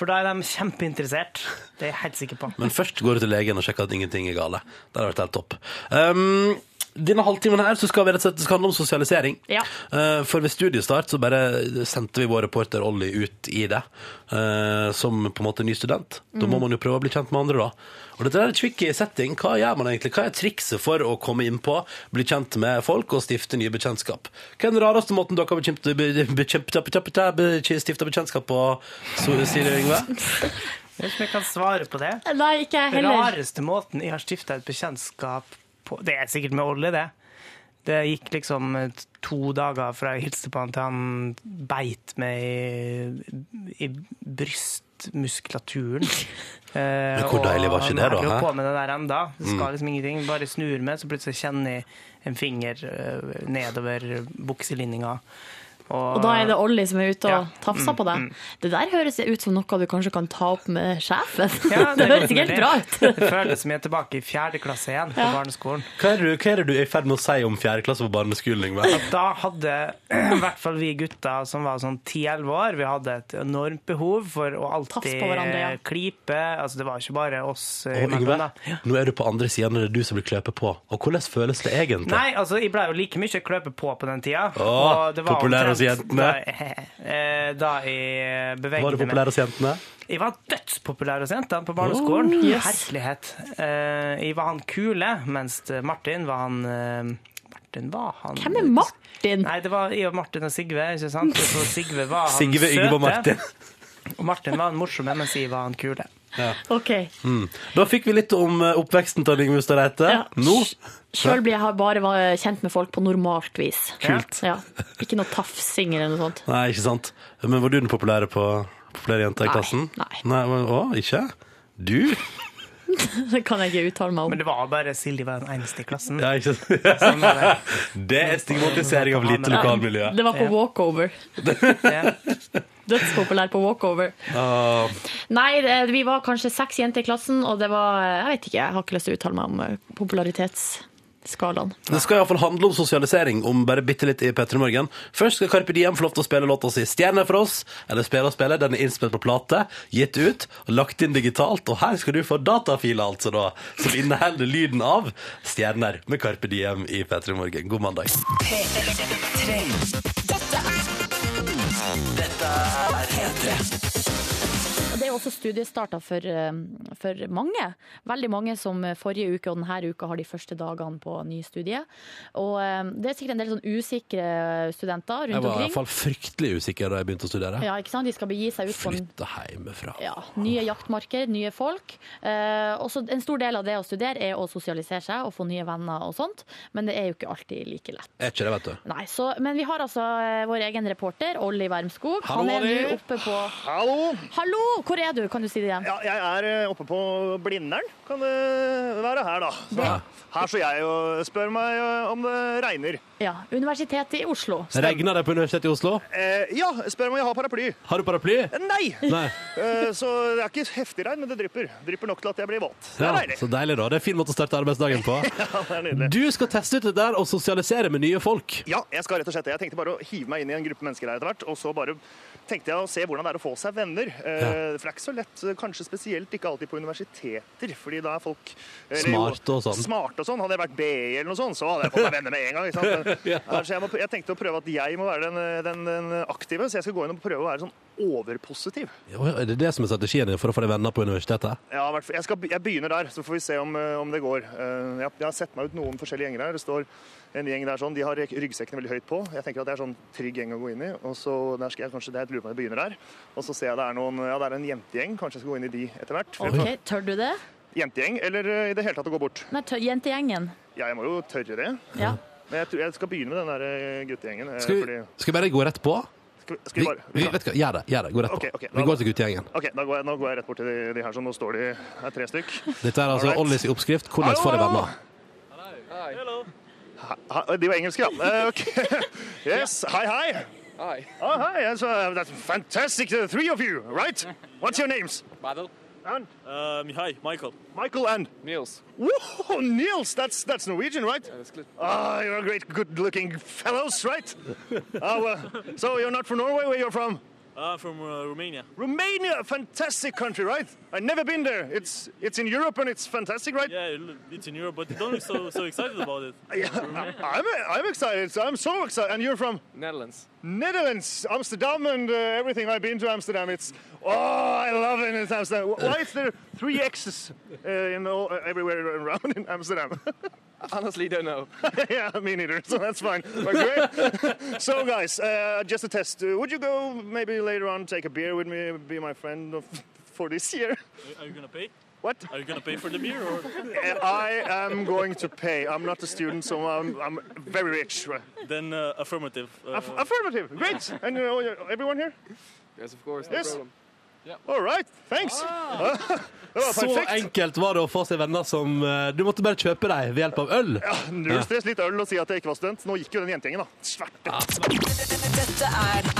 Speaker 4: for da er de kjempeinteressert. Det er jeg helt sikker på.
Speaker 2: Men først går du til legen og sjekker at ingenting er gale. Det har vært helt topp. Um, denne halvtimen her så skal vi rett og slett det skal handle om sosialisering.
Speaker 3: Ja.
Speaker 2: Eh, for ved studiestart så bare sendte vi vår reporter Olli ut i det, eh, som på en måte ny student. Da må man jo prøve å bli kjent med andre, da. Og dette er en tricky setting. Hva gjør man egentlig? Hva er trikset for å komme innpå, bli kjent med folk og stifte nye bekjentskap? Hva er den rareste måten dere har bekjent- be- be- bekjent- bekjent- bekjent- stifta bekjentskap på, så- sier Yngve?
Speaker 4: Jeg vet ikke om jeg kan svare på det.
Speaker 3: Nei, ikke jeg heller.
Speaker 4: rareste måten jeg har stifta et bekjentskap på Det er sikkert med Olli, det. Det gikk liksom to dager fra jeg hilste på han til han beit meg i, i brystmuskulaturen. Eh, Men
Speaker 2: hvor deilig var ikke det da,
Speaker 4: Jeg
Speaker 2: hæ? Mm.
Speaker 4: holder på med det der enda. Det skal liksom ingenting. Bare snur meg, så plutselig kjenner jeg en finger eh, nedover bukselinninga.
Speaker 3: Og da er det Olli som er ute og
Speaker 4: Ja. Mm,
Speaker 3: tafser på deg. Det der høres ut som noe du kanskje kan ta opp med sjefen.
Speaker 4: Ja,
Speaker 3: det
Speaker 4: er
Speaker 3: høres
Speaker 4: godt
Speaker 3: ikke helt
Speaker 4: mulig.
Speaker 3: bra ut.
Speaker 4: Det føles som jeg er tilbake i fjerde klasse igjen på barneskolen.
Speaker 2: Hva er, det, du- hva er det du er i ferd med å si om fjerde klasse på barneskolen, Yngve?
Speaker 4: at da hadde i hvert fall vi gutter som var sånn 10-11 år, vi hadde et enormt behov for å
Speaker 3: Tafse
Speaker 4: alltid
Speaker 3: på hverandre, ja.
Speaker 4: klype. Altså, det var ikke bare oss. eh,
Speaker 2: Og Yngve,
Speaker 4: imellom, da.
Speaker 2: nå er du på andre siden, og det er du som blir kløpet på. Og hvordan føles det egentlig?
Speaker 4: Nei, altså, jeg blei jo like mye kløpe på på den tida.
Speaker 2: Åh,
Speaker 4: og det var
Speaker 2: populær hos
Speaker 4: omtrent
Speaker 2: jentene.
Speaker 4: Da, eh, da jeg bevegde
Speaker 2: Var du populær hos jentene?
Speaker 4: Jeg var dødspopulær hos jentene på barneskolen.
Speaker 3: Oh, yes.
Speaker 4: Herlighet. Eh, jeg var han kule, mens Martin var han eh, Martin var han
Speaker 3: Hvem er Martin?
Speaker 4: Nei, det var jeg og Martin og Sigve, ikke sant? Og så Sigve var han
Speaker 2: Sigve,
Speaker 4: søte.
Speaker 2: Yngve og Martin.
Speaker 4: Og Martin var han morsomme, mens jeg var han kule.
Speaker 3: Ok,
Speaker 2: Hmm. Da fikk vi litt om eh, oppveksten til Yngve Hustad Reite.
Speaker 3: Ja.
Speaker 2: eh? Nå
Speaker 3: Sjøl blir jeg bare var- kjent med folk på normalt vis. Kult. Ja. Ikke noe tafsing eller noe sånt.
Speaker 2: Nei, ikke sant. Men var du den populære på populære jenta i
Speaker 3: Nei,
Speaker 2: klassen?
Speaker 3: nei.
Speaker 2: men- Å, ikke? Du?
Speaker 3: Det kan jeg ikke uttale meg om.
Speaker 4: Men det var bare Silje var den eneste i klassen.
Speaker 2: Ja, ikke sant?
Speaker 4: Sånn var det.
Speaker 2: Det er stigmatisering av lite lokalmiljø.
Speaker 3: Det var på walkover.
Speaker 4: Ja.
Speaker 3: Dødspopulær på walkover.
Speaker 2: Ah,
Speaker 3: Nei, det- vi var kanskje seks jenter i klassen, og det var eh, Jeg vet ikke, jeg har ikke lyst til å uttale meg om eh, popularitetsskalaen.
Speaker 2: Det skal iallfall handle om sosialisering, om bare bitte litt i P3 Morgen. Først skal Carpe Diem få lov til å spille låta si Stjerne for oss. Eller Spille og spille. Den er innspilt på plate, gitt ut, og lagt inn digitalt. Og her skal du få datafiler, altså, da, som inneholder lyden av stjerner med Carpe Diem i P3 Morgen. God mandag.
Speaker 3: Og Det er også studiestarter for, eh, for mange. Veldig mange som eh, forrige uke og denne uka har de første dagene på ny studie. Og eh, det er sikkert en del sånn usikre studenter
Speaker 2: Jeg var
Speaker 3: rundt
Speaker 2: i hvert
Speaker 3: omkring.
Speaker 2: fall fryktelig usikker da jeg begynte å studere.
Speaker 3: Ja, ikke sant? De skal begi seg ut på en
Speaker 2: Flytte hjemmefra.
Speaker 3: ja, nye jaktmarker, nye folk. Eh, også en stor del av det å studere er å sosialisere seg og få nye venner og sånt. Men det er jo ikke alltid like lett.
Speaker 2: Er ikke det, vet du.
Speaker 3: Nei, så, men vi har altså eh, vår egen reporter, Olli Wermskog.
Speaker 2: Hallo,
Speaker 3: Han er
Speaker 2: Olli.
Speaker 3: nå oppe på Hallo! Hallo! Hvor er du? Kan du si det igjen?
Speaker 9: Ja, jeg er eh, oppe på Blindern, kan det være her, da. Så, Her så jeg og spør meg eh, om det regner.
Speaker 3: Ja, Universitetet i Oslo.
Speaker 2: Regner det på Universitetet i Oslo?
Speaker 9: Eh, ja, spør om jeg har paraply.
Speaker 2: Har du paraply?
Speaker 9: Nei!
Speaker 2: Nei.
Speaker 9: Eh, så det er ikke heftig regn, men det drypper. Drypper nok til at jeg blir våt. Det
Speaker 2: Ja,
Speaker 9: er deilig.
Speaker 2: så deilig, da. Det er en fin måte å starte arbeidsdagen på.
Speaker 9: Ja, det er nydelig.
Speaker 2: Du skal teste ut det der og sosialisere med nye folk.
Speaker 9: Ja, jeg skal rett og slett det. Jeg tenkte bare å hive meg inn i en gruppe mennesker her etter hvert, og så bare tenkte jeg å se hvordan det er å få seg venner. Eh, For det er ikke så lett, eh, kanskje spesielt ikke alltid på universiteter, fordi da er folk eh, eller jo,
Speaker 2: Smarte og sånn.
Speaker 9: Smarte og sånn. Hadde jeg vært BI eller noe sånt, så hadde jeg fått meg venner med en gang. Ikke sant? Men, ja, så jeg, må, jeg tenkte å prøve at jeg må være den, eh, den, den aktive, så jeg skal gå inn og prøve å være sånn overpositiv.
Speaker 2: Å, Er det det som er strategien din for å få deg venner på universitetet?
Speaker 9: Ja, i hvert fall- jeg, skal, be- jeg begynner der, så får vi se om, eh, om det går. Eh, Jeg, jeg har sett meg ut noen forskjellige gjenger her. Det står en gjeng der sånn, De har rek- ryggsekkene veldig høyt på. Jeg tenker at Det er sånn trygg gjeng å gå inn i. og så der skal Jeg kanskje, jeg lurer på om jeg begynner der. Og så ser jeg det er noen, ja, det er en jentegjeng. Kanskje jeg skal gå inn i de etter hvert. For-
Speaker 3: Ok, Tør du det?
Speaker 9: Jentegjeng, eller eh, i det hele tatt å gå bort.
Speaker 3: Nei, tør, jentegjengen.
Speaker 9: Ja, jeg må jo tørre det.
Speaker 3: Ja.
Speaker 9: Men jeg, tror- jeg skal begynne med den der eh, guttegjengen. eh,
Speaker 2: Skal vi,
Speaker 9: fordi,
Speaker 2: skal vi bare gå rett på?
Speaker 9: skal, vi- skal
Speaker 2: Vi,
Speaker 9: vi bare...
Speaker 2: vi, vet du hva, gjør det. Gjør det. Gå rett på.
Speaker 9: Ok, ok,
Speaker 2: vi
Speaker 9: da-
Speaker 2: går til guttegjengen.
Speaker 9: OK, da går jeg, nå går jeg rett bort til de, de her. sånn, Nå står de det er tre stykk.
Speaker 2: Dette er altså
Speaker 9: Alright.
Speaker 2: Ollys oppskrift. Hvordan
Speaker 9: Hallo,
Speaker 2: få deg
Speaker 9: hallo!
Speaker 2: venner.
Speaker 9: Ha- De var engelske, ja. Eh, Okay. Yes, hi, hi. Hi. Oh, hi. That's, uh, that's fantastic. The three of you, right? What's your names?
Speaker 12: Battle.
Speaker 9: And
Speaker 12: Um, hi, Michael.
Speaker 9: Michael and
Speaker 12: Niels.
Speaker 9: Whoa, Niels. That's that's Norwegian, right? Ah, you're a great, good-looking fellows, right? oh, well, so you're not from Norway. Where you're from?
Speaker 12: Uh, from uh, Romania.
Speaker 9: Romania, a fantastic country, right? I've never been there. It's it's in Europe and it's fantastic, right?
Speaker 12: Yeah, it look- it's in Europe, but you don't look so, so excited about it.
Speaker 9: Yeah, I- I'm, I'm excited. So I'm so excited. And you're from
Speaker 12: Netherlands.
Speaker 9: Netherlands, Amsterdam, and uh, everything. I've been to Amsterdam. It's oh, I love it. It's Amsterdam. Wh- Why is there three X's uh, in all, uh, everywhere around in Amsterdam?
Speaker 12: Honestly, don't know.
Speaker 9: yeah, me neither. So that's fine. But great. so, guys, uh, just a test. Uh, would you go maybe later on take a beer with me, be my friend of, for this year?
Speaker 12: Are you gonna pay?
Speaker 9: What?
Speaker 12: Are you gonna pay for the beer or?
Speaker 9: Uh, I am going to pay. I'm not a student, so I'm, I'm very rich.
Speaker 12: Then uh, affirmative. Uh,
Speaker 9: Aff- affirmative. Great. And uh, everyone here?
Speaker 12: yes, of course.
Speaker 9: no Yes. problem. All right. Thanks. det var
Speaker 2: Så
Speaker 9: perfekt.
Speaker 2: enkelt var det å få seg venner som eh, Du måtte bare kjøpe deg ved hjelp av øl.
Speaker 9: Null stress, litt øl og si at jeg ikke var student. Nå gikk jo den jentegjengen, da. Svarte.
Speaker 5: Dette er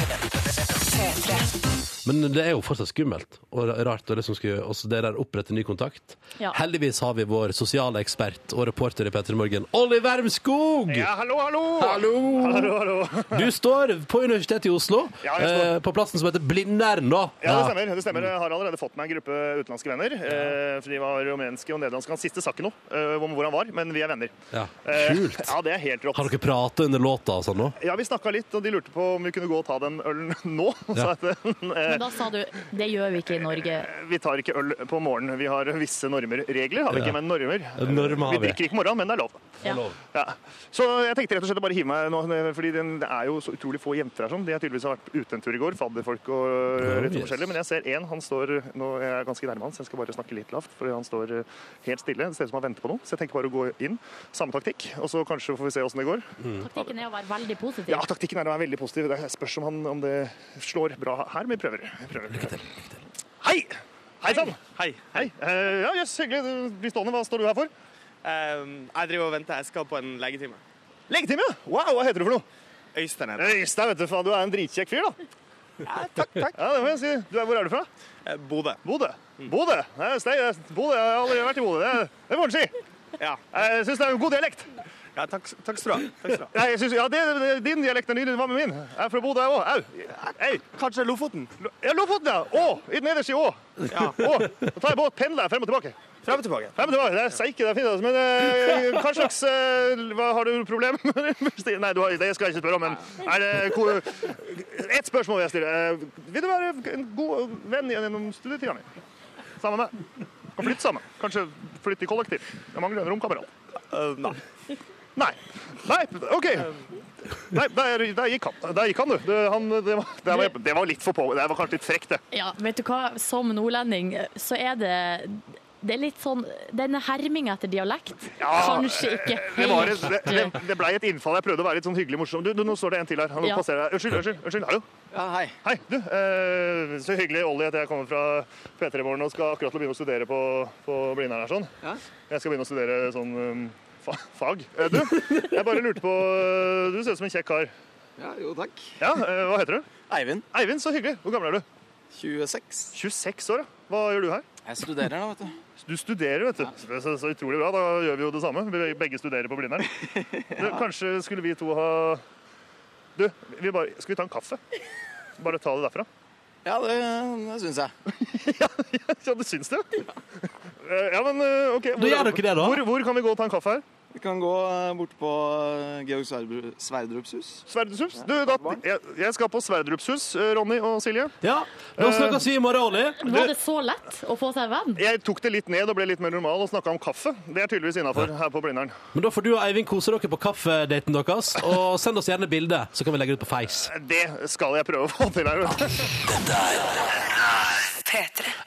Speaker 5: P3.
Speaker 2: Men det er jo fortsatt skummelt og rart. Og det, som skulle, og så det der opprette ny kontakt.
Speaker 5: Ja.
Speaker 2: Heldigvis har vi vår sosiale ekspert og reporter i P3 Morgen, Olli Wermskog!
Speaker 9: Ja, hallo, hallo!
Speaker 2: Hallo!
Speaker 9: Hallo, hallo.
Speaker 2: Du står på Universitetet i Oslo,
Speaker 9: Ja, jeg står.
Speaker 2: eh, på plassen som heter Blindern, da.
Speaker 9: Ja, det stemmer. det
Speaker 2: Mm.
Speaker 9: stemmer. Jeg har allerede fått meg en gruppe utenlandske venner. Eh, for de var rumenske og nederlandske. Han siste sa ikke noe eh, om hvor han var, men vi er venner.
Speaker 2: Ja.
Speaker 9: Eh,
Speaker 2: Kult.
Speaker 9: ja, det er helt rått.
Speaker 2: Har dere pratet under låta og sånn nå?
Speaker 9: Ja, vi snakka litt, og de lurte på om vi kunne gå og ta den ølen nå.
Speaker 2: Ja.
Speaker 9: Så at, eh,
Speaker 3: Men da sa du det gjør vi ikke i Norge.
Speaker 9: vi tar ikke øl på morgenen. Vi har visse normer. Regler har vi
Speaker 2: Ja.
Speaker 9: ikke, men normer.
Speaker 2: Normer har
Speaker 9: vi
Speaker 2: vi.
Speaker 9: drikker ikke morgenen, men det er lov.
Speaker 3: Ja.
Speaker 9: Ja. Så jeg tenkte rett og slett å bare hive meg nå, fordi den, det er jo så utrolig få jenter her sånn. De har tydeligvis vært ute en tur i går, fadderfolk og
Speaker 2: Oh,
Speaker 9: litt sånn
Speaker 2: yes.
Speaker 9: forskjellig. Men jeg ser én, han står nå er jeg ganske nærme han, så jeg skal bare snakke litt lavt, for han står eh, helt stille. Det ser ut som han venter på noe, så jeg tenker bare å gå inn. Samme taktikk, og så kanskje får vi se åssen det går.
Speaker 2: Mm.
Speaker 3: Taktikken er å være veldig positiv.
Speaker 9: Ja, taktikken er å være veldig positiv. Det spørs om, han, om det slår bra her, men vi prøver. Vi prøver. Hei! Hei sann!
Speaker 13: Hei.
Speaker 9: Hei. Eh, ja, jøss, hyggelig. Du blir stående. Hva står du her for?
Speaker 13: Ehm, jeg driver og venter. Jeg skal på en legetime.
Speaker 9: Legetime, ja! Wow, hva heter du for noe?
Speaker 13: Øystein heter jeg.
Speaker 9: Øystein, vet du faen, du er en dritkjekk fyr, da.
Speaker 13: Takk, takk.
Speaker 9: Ja, det må jeg si. Du er, hvor er du fra?
Speaker 13: Eh, Bodø.
Speaker 9: Bodø. Bodø. Eh, Stei, eh, Bodø. Jeg har aldri vært i Bodø. Det, det må du si.
Speaker 13: Ja.
Speaker 9: Jeg syns det er en god dialekt.
Speaker 13: Ja, takk, takk skal du ha. Takk skal du ha.
Speaker 9: Nei, jeg synes, ja, det, det, Din dialekt er ny. Hva med min? Jeg er fra Bodø, jeg òg. Au. Hei.
Speaker 13: Kanskje Lofoten?
Speaker 9: Ja, Lofoten, ja. Å, i- nederst i Å.
Speaker 13: Ja.
Speaker 9: Å, Da tar jeg båt, pendler jeg frem og tilbake.
Speaker 13: Frem og tilbake.
Speaker 9: Frem og tilbake, Det er seike, det er fint. altså, Men eh, hva slags eh, hva, Har du problem? Nei, du har, det skal jeg ikke spørre om, men er det ko, Ett spørsmål vil jeg stille. Eh, vil du være en god eh, venn gjennom studietida mi? Sammen med Kan flytte sammen. Kanskje flytte i kollektiv. Jeg mangler en romkamerat.
Speaker 13: Eh, nei.
Speaker 9: Nei. Nei, OK. Nei, der, der gikk han. Der gikk han, du. Det, han, det, var, det, var, det var litt for på. Det var kanskje litt frekt, det.
Speaker 3: Ja, vet du hva? Som nordlending så er eh, det det er litt sånn Den herminga etter dialekt
Speaker 9: Ja,
Speaker 3: Kanskje ikke helt
Speaker 9: Det, var et, det, det, det ble et innfall. Jeg prøvde å være litt sånn hyggelig morsom. Du, du, nå står det en til her. Han
Speaker 3: Ja.
Speaker 9: passerer deg. Unnskyld, unnskyld. unnskyld. Hallo. hei. du. Eh, så hyggelig, Olli, at jeg kommer fra P3 Morgen og skal akkurat til å begynne å studere på, på Blindern her sånn.
Speaker 14: Ja.
Speaker 9: Jeg skal begynne å studere sånn um, fa fag. Eh, du, jeg bare lurte på eh, Du ser ut som en kjekk kar.
Speaker 14: Ja, jo, takk.
Speaker 9: Ja, eh, Hva heter du? Eivind. Eivind, Så hyggelig. Hvor gammel er du? 26. 26 år, ja. Hva gjør du her?
Speaker 14: Jeg studerer da, vet du.
Speaker 9: Du studerer, vet du. Så, så utrolig bra. Da gjør vi jo det samme. Vi begge studerer på Blindern. Du, Kanskje skulle vi to ha Du, vi bare... skal vi ta en kaffe? Bare ta det derfra?
Speaker 14: Ja, det, det syns jeg.
Speaker 9: Ja, du syns det? Eh, Ja, men eh, OK.
Speaker 14: Da gjør dere det, da.
Speaker 9: Hvor, hvor kan vi gå og ta en kaffe her?
Speaker 14: Vi kan gå eh, bort på eh, Georg Sverdru- Sverdrups hus.
Speaker 9: Sverdrups? Du, da, jeg, jeg skal på Sverdrupshus, eh, Ronny og Silje. Eh,
Speaker 15: Ja, da snakkes vi i morgen, Olli.
Speaker 3: Var det så lett å få seg en venn?
Speaker 9: Jeg tok det litt ned og ble litt mer normal og snakka om kaffe. Det er tydeligvis innafor her på Blindern.
Speaker 15: Men da får du og Eivind kose dere på kaffedaten deres, og send oss gjerne bilde, så kan vi legge det ut på Face.
Speaker 9: Det skal jeg prøve å få til her. vet du.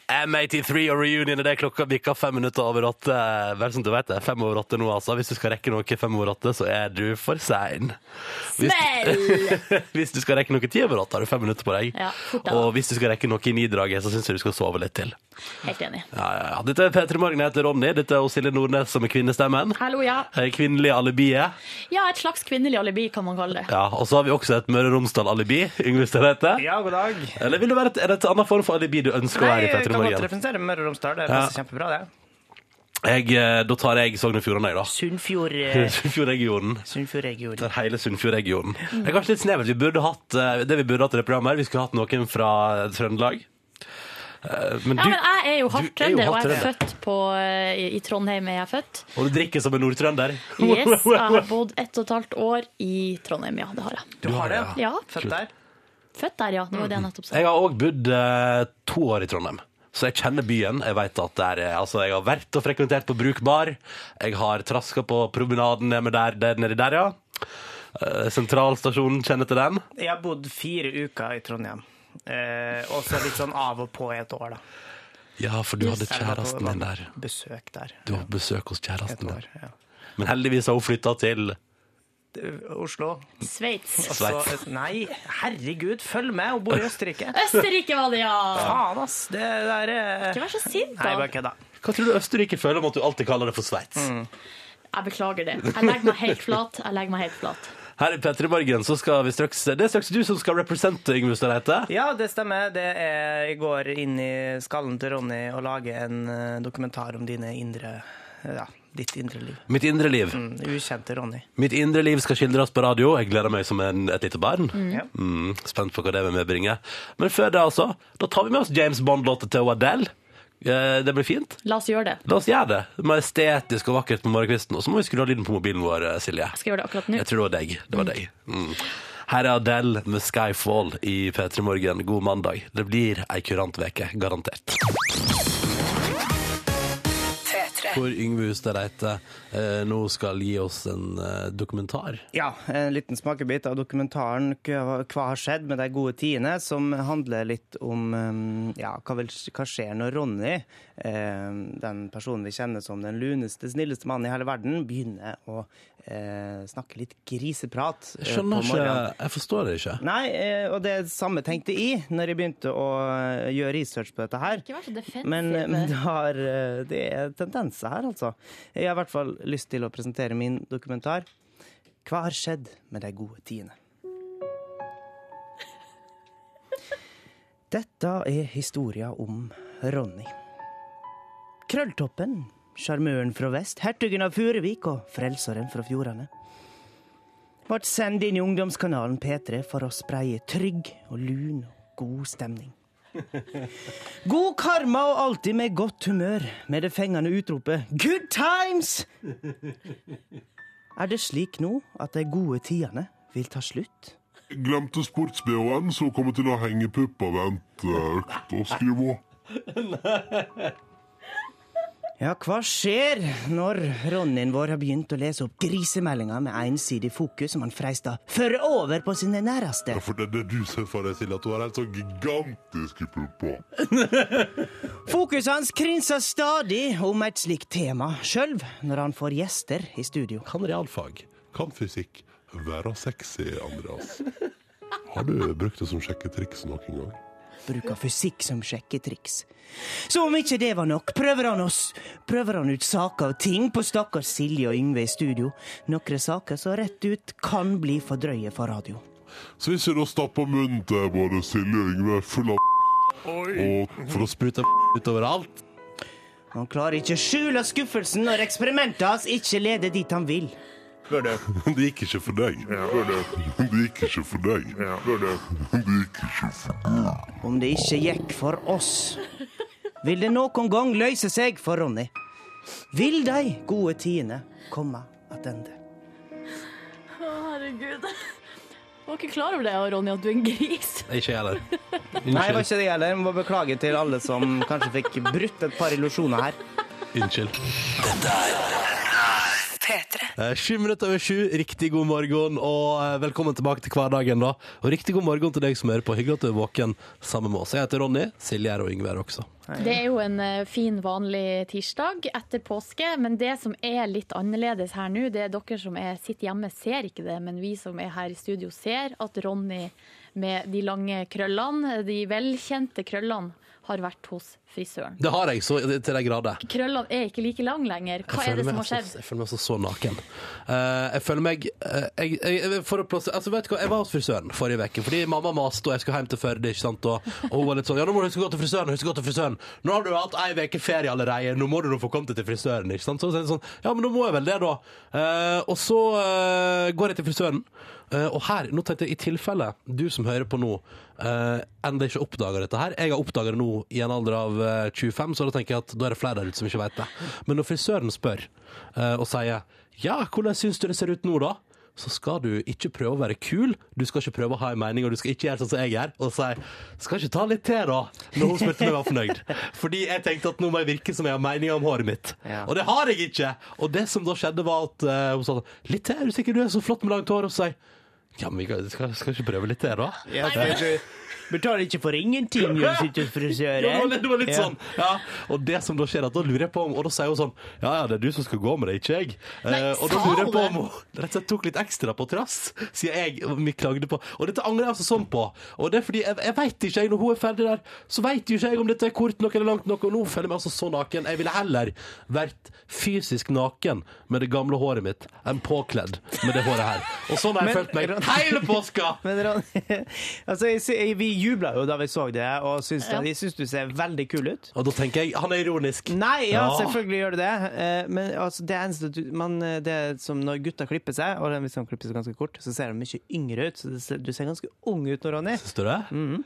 Speaker 2: M83 og reunion er det klokka bikka fem minutter over åtte. Vel som du vet det, fem over åtte nå, altså. Hvis du skal rekke noe fem over åtte, så er du for sein. Hvis, hvis du skal rekke noe ti over åtte, har du fem minutter på deg.
Speaker 3: Ja, fort da.
Speaker 2: Og hvis du skal rekke noe i nidraget, så syns jeg du skal sove litt til.
Speaker 3: Helt enig.
Speaker 2: Ja, ja, ja. Dette er P3 Morgen, jeg heter Ronny. Dette er Silje Nordnes som er kvinnestemmen.
Speaker 3: Hallo, ja.
Speaker 2: Eh, Kvinnelig alibiet.
Speaker 3: Ja, et slags kvinnelig alibi, kan man kalle det.
Speaker 2: Ja, og så har vi også et Møre og Romsdal-alibi. Yngve Stedheite.
Speaker 4: Ja, god dag.
Speaker 2: Eller vil det være et, er det et annet form for alibi du ønsker å
Speaker 4: Nei,
Speaker 2: være i
Speaker 4: jeg
Speaker 2: P3
Speaker 4: kan godt
Speaker 2: Morgen?
Speaker 4: representere Møre og Romsdal. Det
Speaker 2: Ja.
Speaker 4: passer kjempebra, det.
Speaker 2: Jeg, eh, da tar jeg Sogn og Fjordane, jeg, da.
Speaker 4: Sunnfjord eh,
Speaker 2: Sunnfjordregionen.
Speaker 4: Sunnfjordregionen. Mm.
Speaker 2: Det er hele Sunnfjordregionen. Det er kanskje litt snevert. Vi burde hatt eh, det vi burde hatt i det programmet her. Vi skulle hatt noen fra Trøndelag. Eh, Men
Speaker 3: Ja,
Speaker 2: du,
Speaker 3: men jeg er jo
Speaker 2: du er
Speaker 3: hardt
Speaker 2: jo
Speaker 3: trønder, og
Speaker 2: hardt
Speaker 3: jeg er
Speaker 2: trønder.
Speaker 3: født på, eh, i i Trondheim. er jeg født.
Speaker 2: og du drikker som en nordtrønder.
Speaker 3: Yes, jeg
Speaker 4: ah.
Speaker 3: har bodd ett og et halvt år i Trondheim, ja, det har jeg.
Speaker 2: Du har det, ja. Mm.
Speaker 3: Ja.
Speaker 2: Født der?
Speaker 3: Født der, ja. Det var det jeg nettopp sa.
Speaker 2: Jeg har òg bodd eh, to år i Trondheim. Så jeg kjenner byen. Jeg vet at der, er- altså, jeg har vært og frekventert på Brukbar. Jeg har traska på promenaden nede der, der, nedi der, ja. Eh, Sentralstasjonen, kjenner til den.
Speaker 4: Jeg har bodd fire uker i Trondheim. Eh, og så litt sånn av og på i et år, da.
Speaker 2: Ja, for du hadde
Speaker 4: Selv om jeg var på-
Speaker 2: kjæresten din der.
Speaker 4: Besøk der.
Speaker 2: Du har besøk hos kjæresten din. Men heldigvis har hun flytta til
Speaker 4: Det- Oslo.
Speaker 3: Sveits.
Speaker 4: Og så- Nei, herregud, følg med! Hun bor i Østerrike.
Speaker 3: Østerrike var det, ja!
Speaker 4: Faen, ass! Det der er
Speaker 3: Ikke vær så sint,
Speaker 4: Nei,
Speaker 3: da.
Speaker 4: bare Mm. kødda.
Speaker 2: Hva tror du Østerrike føler om at du alltid kaller det for Sveits?
Speaker 3: Jeg beklager det. Jeg legger meg helt flat. Jeg legger meg helt flat.
Speaker 2: Her i P3 Morgen så skal vi straks Det er straks du som skal represente, Yngve Ustadreite.
Speaker 4: Ja, det stemmer. Det er, jeg går inn i skallen til Ronny og lager en eh, dokumentar om dine indre Ja, ditt indre liv.
Speaker 2: Mitt indre liv.
Speaker 4: Mm, ukjente Ronny.
Speaker 2: Mitt indre liv skal skildres på radio. Jeg gleder meg som en, et lite barn.
Speaker 4: Mm. Ja.
Speaker 2: Mm, spent på hva det vil medbringe. Men før det, altså, da tar vi med oss James Bond-låta til Adele. Eh, Det blir fint.
Speaker 3: La oss gjøre det.
Speaker 2: La oss gjøre det. Det må være estetisk og vakkert på morgenkvisten. Og så må vi skru av lyden på mobilen vår, eh, Silje.
Speaker 3: Jeg skal gjøre det akkurat nå.
Speaker 2: Jeg tror det var deg. Det var deg. Mm. Her er Adele med 'Skyfall' i P3 Morgen. God mandag. Det blir ei kurant veke, garantert. Hvor Yngve Hustad Reite eh, nå skal gi oss en eh, dokumentar.
Speaker 10: Ja, en liten smakebit av dokumentaren Hva hva har skjedd med de gode tidene, som handler litt om um, ja, hva, vil, hva skjer når Ronny, eh, den personen vi kjenner som den luneste, snilleste mannen i hele verden, begynner å eh, snakke litt griseprat. eh,
Speaker 2: Jeg skjønner
Speaker 10: på morgenen.
Speaker 2: ikke Jeg forstår det ikke.
Speaker 10: Nei, eh, og det samme tenkte jeg når jeg begynte å eh, gjøre research på dette her.
Speaker 3: Ikke vær så defensiv.
Speaker 10: Men, men det, har, eh, det er tendenser her, altså. Jeg har i hvert fall lyst til å presentere min dokumentar. Hva har skjedd med de gode tidene? Dette er historia om Ronny. Krølltoppen, sjarmøren fra vest, hertugen av Furuvik og frelseren fra fjordane. Vart sendt inn i ungdomskanalen P3 for å spreie trygg og lun og god stemning. God karma og alltid med godt humør, med det fengende utropet 'Good times'! Er det slik nå at de gode tidene vil ta slutt?
Speaker 16: Glemte sports-BH-en, så kommer til å henge puppa vente økt og skrive.
Speaker 4: Ja, hva skjer når Ronnyen vår har begynt å lese opp grisemeldinger med ensidig fokus som han freista fører over på sine næreste?
Speaker 16: Ja, for det er det du ser for deg, Silje, at du har en sånn gigantisk puppe.
Speaker 4: Fokuset hans krinser stadig om et slikt tema, sjøl når han får gjester i studio.
Speaker 16: Kan realfag, kan fysikk være sexy, Andreas? Har du brukt det som sjekketriks noen gang?
Speaker 4: Bruker fysikk som sjekketriks. Som om ikke det var nok, prøver han, oss, prøver han ut saker og ting på stakkars Silje og Yngve i studio. Noen saker som rett ut kan bli for drøye for radio.
Speaker 16: Så hvis vi nå stapper munnen til både Silje og Yngve full av og for å sprute ut overalt
Speaker 4: Han klarer ikke å skjule skuffelsen når eksperimentet hans ikke leder dit han vil.
Speaker 16: Det gikk ikke for deg. Det gikk ikke for deg. Det gikk ikke for deg.
Speaker 4: Om det ikke gikk for oss, vil det noen gang løse seg for Ronny. Vil de gode tidene komme attende?
Speaker 3: Å, herregud. Jeg var ikke klar over det, Ronny, at du er en gris.
Speaker 2: Ikke jeg heller.
Speaker 4: Nei, det var ikke det heller. Jeg Må beklage til alle som kanskje fikk brutt et par illusjoner her.
Speaker 2: Unnskyld.
Speaker 5: P3.
Speaker 2: Eh, Sju minutter over sju, riktig god morgen og eh, velkommen tilbake til hverdagen. da Og riktig god morgen til deg som hører på. Hyggelig at du er våken sammen med oss. Jeg heter Ronny. Silje er og Yngve er også.
Speaker 3: Det er jo en eh, fin, vanlig tirsdag etter påske, men det som er litt annerledes her nå, det er dere som er, sitter hjemme ser ikke det, men vi som er her i studio ser at Ronny med de lange krøllene, de velkjente krøllene, har vært hos frisøren.
Speaker 2: Det har jeg så til de grader.
Speaker 3: Krøllene er ikke like lang lenger. Hva
Speaker 2: Jeg
Speaker 3: er
Speaker 2: føler
Speaker 3: det som
Speaker 2: meg
Speaker 3: har skjedd?
Speaker 2: altså- Jeg føler meg altså så naken. Eh, jeg føler meg eh, jeg, jeg, For å plassere Altså, vet du hva, jeg var hos frisøren forrige uke fordi mamma maste, og jeg skulle hjem til Førde, ikke sant, og, og hun var litt sånn Ja, nå må du huske å gå til frisøren, huske å gå til frisøren. Nå har du hatt ei uke ferie allerede, nå må du nå få kommet deg til frisøren, ikke sant. Så jeg sånn, ja, men da må jeg vel det, da. Eh, og så eh, går jeg til frisøren, eh, og her, nå tenkte jeg i tilfelle du som hører på nå, uh, enda ikke oppdager dette her. Jeg har oppdaget det nå i en alder av eh, 25, så da tenker jeg at da er det flere der ute som ikke vet det. Men når frisøren spør eh, og sier ja, hvordan syns du det ser ut nå da? Så skal du ikke prøve å være kul, du skal ikke prøve å ha en mening, og du skal ikke gjøre sånn som jeg gjør, og si skal ikke ta litt til da, når hun spurte om jeg var fornøyd. Fordi jeg tenkte at nå må jeg virke som jeg har meninger om håret mitt. Og det har jeg ikke! Og det som da skjedde, var at eh, hun sa sånn, litt til, er du sikker du er så flott med langt hår? Og så sier jeg ja, men vi kan- skal, skal ikke prøve litt til da?
Speaker 4: Ja, kanskje. Betaler ikke for ingenting når du sitter hos frisøren.
Speaker 2: Ja, det var litt, det var litt
Speaker 4: Ja.
Speaker 2: sånn. Ja. Og det som da skjer, er at da lurer jeg på om Og da sier hun sånn Ja, ja, det er du som skal gå med det, ikke jeg.
Speaker 17: Nei,
Speaker 2: Eh, og da
Speaker 17: sa
Speaker 2: lurer jeg på
Speaker 17: hun
Speaker 2: om hun rett og slett tok litt ekstra på trass, siden jeg og vi klagde på Og dette angrer jeg altså sånn på. Og det er fordi jeg, jeg veit ikke, jeg, når hun er ferdig der, så veit jo ikke jeg om dette er kort nok eller langt nok, og nå føler jeg meg altså så naken. Jeg ville heller vært fysisk naken med det gamle håret mitt enn påkledd med det håret her. Og sånn har jeg følt meg hele påska!
Speaker 4: Men Ronny, altså, jeg, sy- vi jubla jo da vi så det, og syns,
Speaker 2: Ja.
Speaker 4: jeg syns du ser veldig kul ut.
Speaker 2: Og da tenker jeg han er ironisk.
Speaker 4: Nei, ja,
Speaker 2: Ja.
Speaker 4: selvfølgelig gjør det det. Eh, Men altså, det eneste du, man, eh, det er som når gutta klipper seg, og hvis de klipper seg ganske kort, så ser de mye yngre ut. Så det ser- du ser ganske ung ut nå, Ronny. Mhm. Syns
Speaker 2: du det?